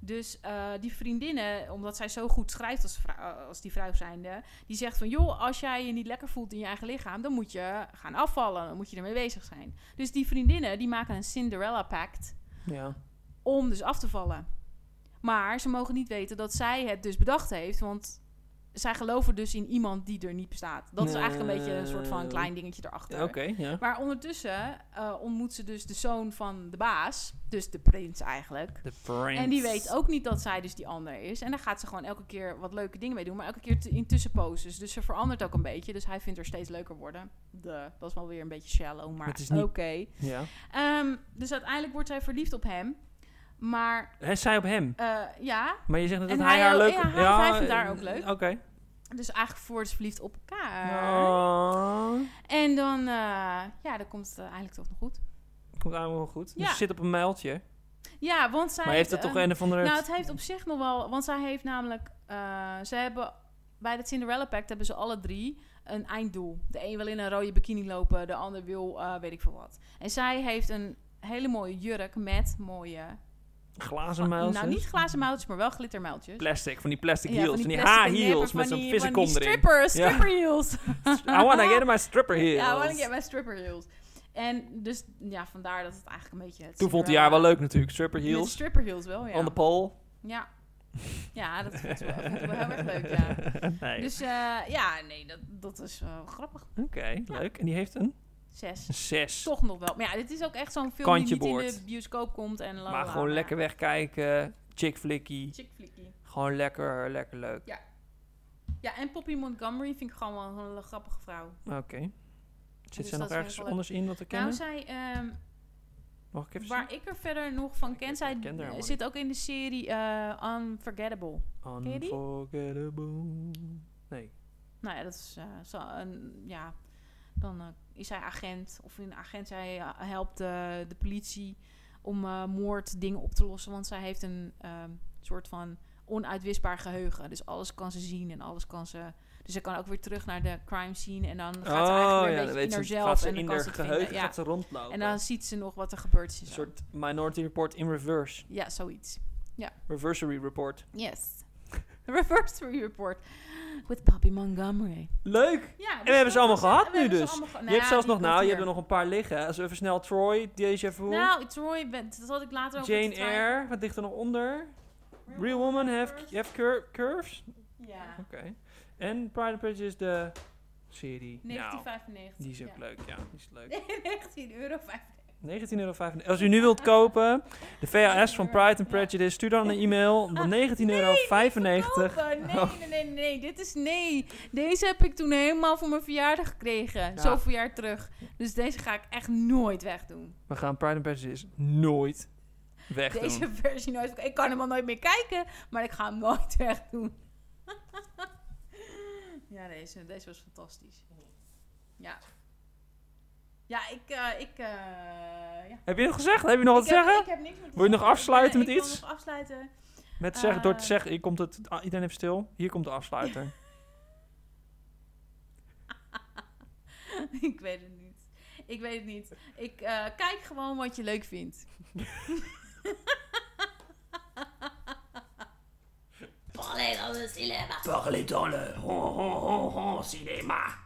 Speaker 4: Dus eh, die vriendinnen, omdat zij zo goed schrijft als, vrou- als die vrouw zijnde, die zegt van joh, als jij je niet lekker voelt in je eigen lichaam, dan moet je gaan afvallen, dan moet je ermee bezig zijn. Dus die vriendinnen, die maken een Cinderella pact
Speaker 3: ja.
Speaker 4: om dus af te vallen. Maar ze mogen niet weten dat zij het dus bedacht heeft, want zij geloven dus in iemand die er niet bestaat. Dat is eigenlijk een beetje een soort van klein dingetje erachter.
Speaker 3: Ja, Oké, ja.
Speaker 4: Maar ondertussen eh, ontmoet ze dus de zoon van de baas, dus de prins eigenlijk.
Speaker 3: De brains.
Speaker 4: En die weet ook niet dat zij dus die ander is. En daar gaat ze gewoon elke keer wat leuke dingen mee doen. Maar elke keer te- in tussenposes. Dus ze verandert ook een beetje. Dus hij vindt haar steeds leuker worden. Duh, dat is wel weer een beetje shallow. Maar
Speaker 3: Het is niet-
Speaker 4: oké.
Speaker 3: Ja.
Speaker 4: Ehm, dus uiteindelijk wordt zij verliefd op hem. Maar
Speaker 3: Hij zei op hem.
Speaker 4: eh, ja,
Speaker 3: Maar je zegt net
Speaker 4: En
Speaker 3: dat hij,
Speaker 4: hij
Speaker 3: haar
Speaker 4: ook-
Speaker 3: leuk... eh,
Speaker 4: ja, hij- hij vindt haar ook leuk.
Speaker 3: Oké.
Speaker 4: dus eigenlijk voor ze verliefd op elkaar.
Speaker 3: Nou,
Speaker 4: En dan, eh, ja, dan komt het eh, eigenlijk toch nog goed.
Speaker 3: komt aan wel goed. Dus
Speaker 4: Ja.
Speaker 3: ze zit op een mijltje.
Speaker 4: Ja, want zij...
Speaker 3: maar heeft dat toch
Speaker 4: eh,
Speaker 3: een of andere...
Speaker 4: Nou, het heeft op zich nog wel... Want zij heeft namelijk... eh, ze hebben... Bij het Cinderella Pact hebben ze alle drie een einddoel. De een wil in een rode bikini lopen. De ander wil eh, weet ik veel wat. En zij heeft een hele mooie jurk met mooie...
Speaker 3: glazen mijltjes.
Speaker 4: Nou, niet glazen muiltjes, maar wel glittermuiltjes.
Speaker 3: Plastic, van die plastic
Speaker 4: Ja,
Speaker 3: heels. Van die,
Speaker 4: plastic
Speaker 3: ha
Speaker 4: neppen,
Speaker 3: heels
Speaker 4: van
Speaker 3: met zo'n
Speaker 4: die-
Speaker 3: vissenkom
Speaker 4: Van die
Speaker 3: erin.
Speaker 4: strippers,
Speaker 3: Ja.
Speaker 4: stripper heels.
Speaker 3: I wanna get my stripper heels.
Speaker 4: Ja, I wanna get my stripper heels. En dus, ja, vandaar dat het eigenlijk een beetje... Het
Speaker 3: Toen vond hij haar wel leuk natuurlijk. Stripper
Speaker 4: Met
Speaker 3: heels.
Speaker 4: stripper heels wel, ja.
Speaker 3: On the pole.
Speaker 4: Ja. Ja, dat vond ik wel, vond ik wel heel erg leuk, ja.
Speaker 3: Nee.
Speaker 4: Dus eh, ja, nee, dat, dat is wel grappig.
Speaker 3: Oké, leuk. En die heeft een
Speaker 4: Zes.
Speaker 3: 6.
Speaker 4: Toch nog wel. Maar ja, dit is ook echt zo'n film
Speaker 3: Kantje
Speaker 4: die niet in
Speaker 3: boord.
Speaker 4: de bioscoop komt en la,
Speaker 3: Maar
Speaker 4: la,
Speaker 3: gewoon
Speaker 4: la.
Speaker 3: lekker wegkijken. Chick flickie.
Speaker 4: Chick flickie.
Speaker 3: Gewoon lekker, lekker leuk.
Speaker 4: Ja, en Poppy Montgomery vind ik gewoon wel een hele grappige vrouw.
Speaker 3: Oké. Zit
Speaker 4: Dus
Speaker 3: zij
Speaker 4: dat
Speaker 3: nog
Speaker 4: is
Speaker 3: ergens
Speaker 4: wel-
Speaker 3: anders in wat we kennen?
Speaker 4: Nou, zij, ehm,
Speaker 3: Mag ik even zien?
Speaker 4: waar ik er verder nog van ken, zij
Speaker 3: ken haar helemaal
Speaker 4: zit ook in de serie eh, Unforgettable. je die?
Speaker 3: Unforgettable. Nee.
Speaker 4: Nou ja, dat is eh, zo een, ja, dan eh, is hij agent of een agent. Zij eh, helpt eh, de politie om eh moorddingen op te lossen, want zij heeft een ehm, soort van onuitwisbaar geheugen. Dus alles kan ze zien en alles kan ze. Dus ze kan ook weer terug naar de crime scene en dan gaat ze
Speaker 3: Oh,
Speaker 4: eigenlijk weer een beetje in
Speaker 3: gaat
Speaker 4: haarzelf
Speaker 3: ze
Speaker 4: en dan
Speaker 3: in
Speaker 4: kan
Speaker 3: haar
Speaker 4: ze het vinden.
Speaker 3: geheugen
Speaker 4: Ja.
Speaker 3: gaat ze rondlopen.
Speaker 4: En dan ziet ze nog wat er gebeurd is. en
Speaker 3: een
Speaker 4: zo.
Speaker 3: soort Minority Report in reverse.
Speaker 4: Ja, zoiets.
Speaker 3: Reversery Report.
Speaker 4: Yes. Reverse report with Poppy Montgomery.
Speaker 3: Leuk!
Speaker 4: Ja,
Speaker 3: we hebben ze allemaal gehad nu dus.
Speaker 4: je
Speaker 3: je hebt zelfs nog, nou, je hebt er nog een paar liggen. Als we even snel Troy, Deja Vu,
Speaker 4: Nou, Troy, dat had ik later over te
Speaker 3: Jane
Speaker 4: twijfelen.
Speaker 3: Eyre, wat ligt er nog onder? Real Woman, Have,
Speaker 4: Curves.
Speaker 3: have cur- Curves?
Speaker 4: Ja,
Speaker 3: Oké. En Pride and Prejudice, de serie. Nou,
Speaker 4: 1995.
Speaker 3: die is ook
Speaker 4: ja.
Speaker 3: leuk, ja. Die is leuk.
Speaker 4: 19 euro.
Speaker 3: 19,95 Als u nu wilt kopen, de VHS van Pride and Prejudice, stuur dan een e-mail.
Speaker 4: Ah,
Speaker 3: van 19,95
Speaker 4: Nee, niet
Speaker 3: Oh.
Speaker 4: verkopen. nee, nee, nee, nee. Dit is nee. Deze heb ik toen helemaal voor mijn verjaardag gekregen.
Speaker 3: Ja.
Speaker 4: Zoveel jaar terug. Dus deze ga ik echt nooit wegdoen.
Speaker 3: We gaan Pride and Prejudice nooit wegdoen.
Speaker 4: Deze versie nooit. Ik kan hem al nooit meer kijken, maar ik ga hem nooit wegdoen. ja, deze, deze was fantastisch. Ja. Ja, ik, eh, ik, eh, ja.
Speaker 3: Heb je nog gezegd? Heb je nog wat
Speaker 4: ik
Speaker 3: te zeggen?
Speaker 4: Heb, ik heb niks meer te
Speaker 3: Wil je nog
Speaker 4: zeggen.
Speaker 3: afsluiten
Speaker 4: Nee,
Speaker 3: met
Speaker 4: ik wil
Speaker 3: iets?
Speaker 4: nog afsluiten.
Speaker 3: Met zeggen, door te
Speaker 4: Eh.
Speaker 3: zeggen, hier komt het, ah, iedereen heeft stil. Hier komt de afsluiter.
Speaker 4: ik weet het niet. Ik weet het niet. Ik eh, kijk gewoon wat je leuk vindt.
Speaker 5: Parlez dans le cinéma. Parlez dans le hon, hon, hon, hon, cinéma.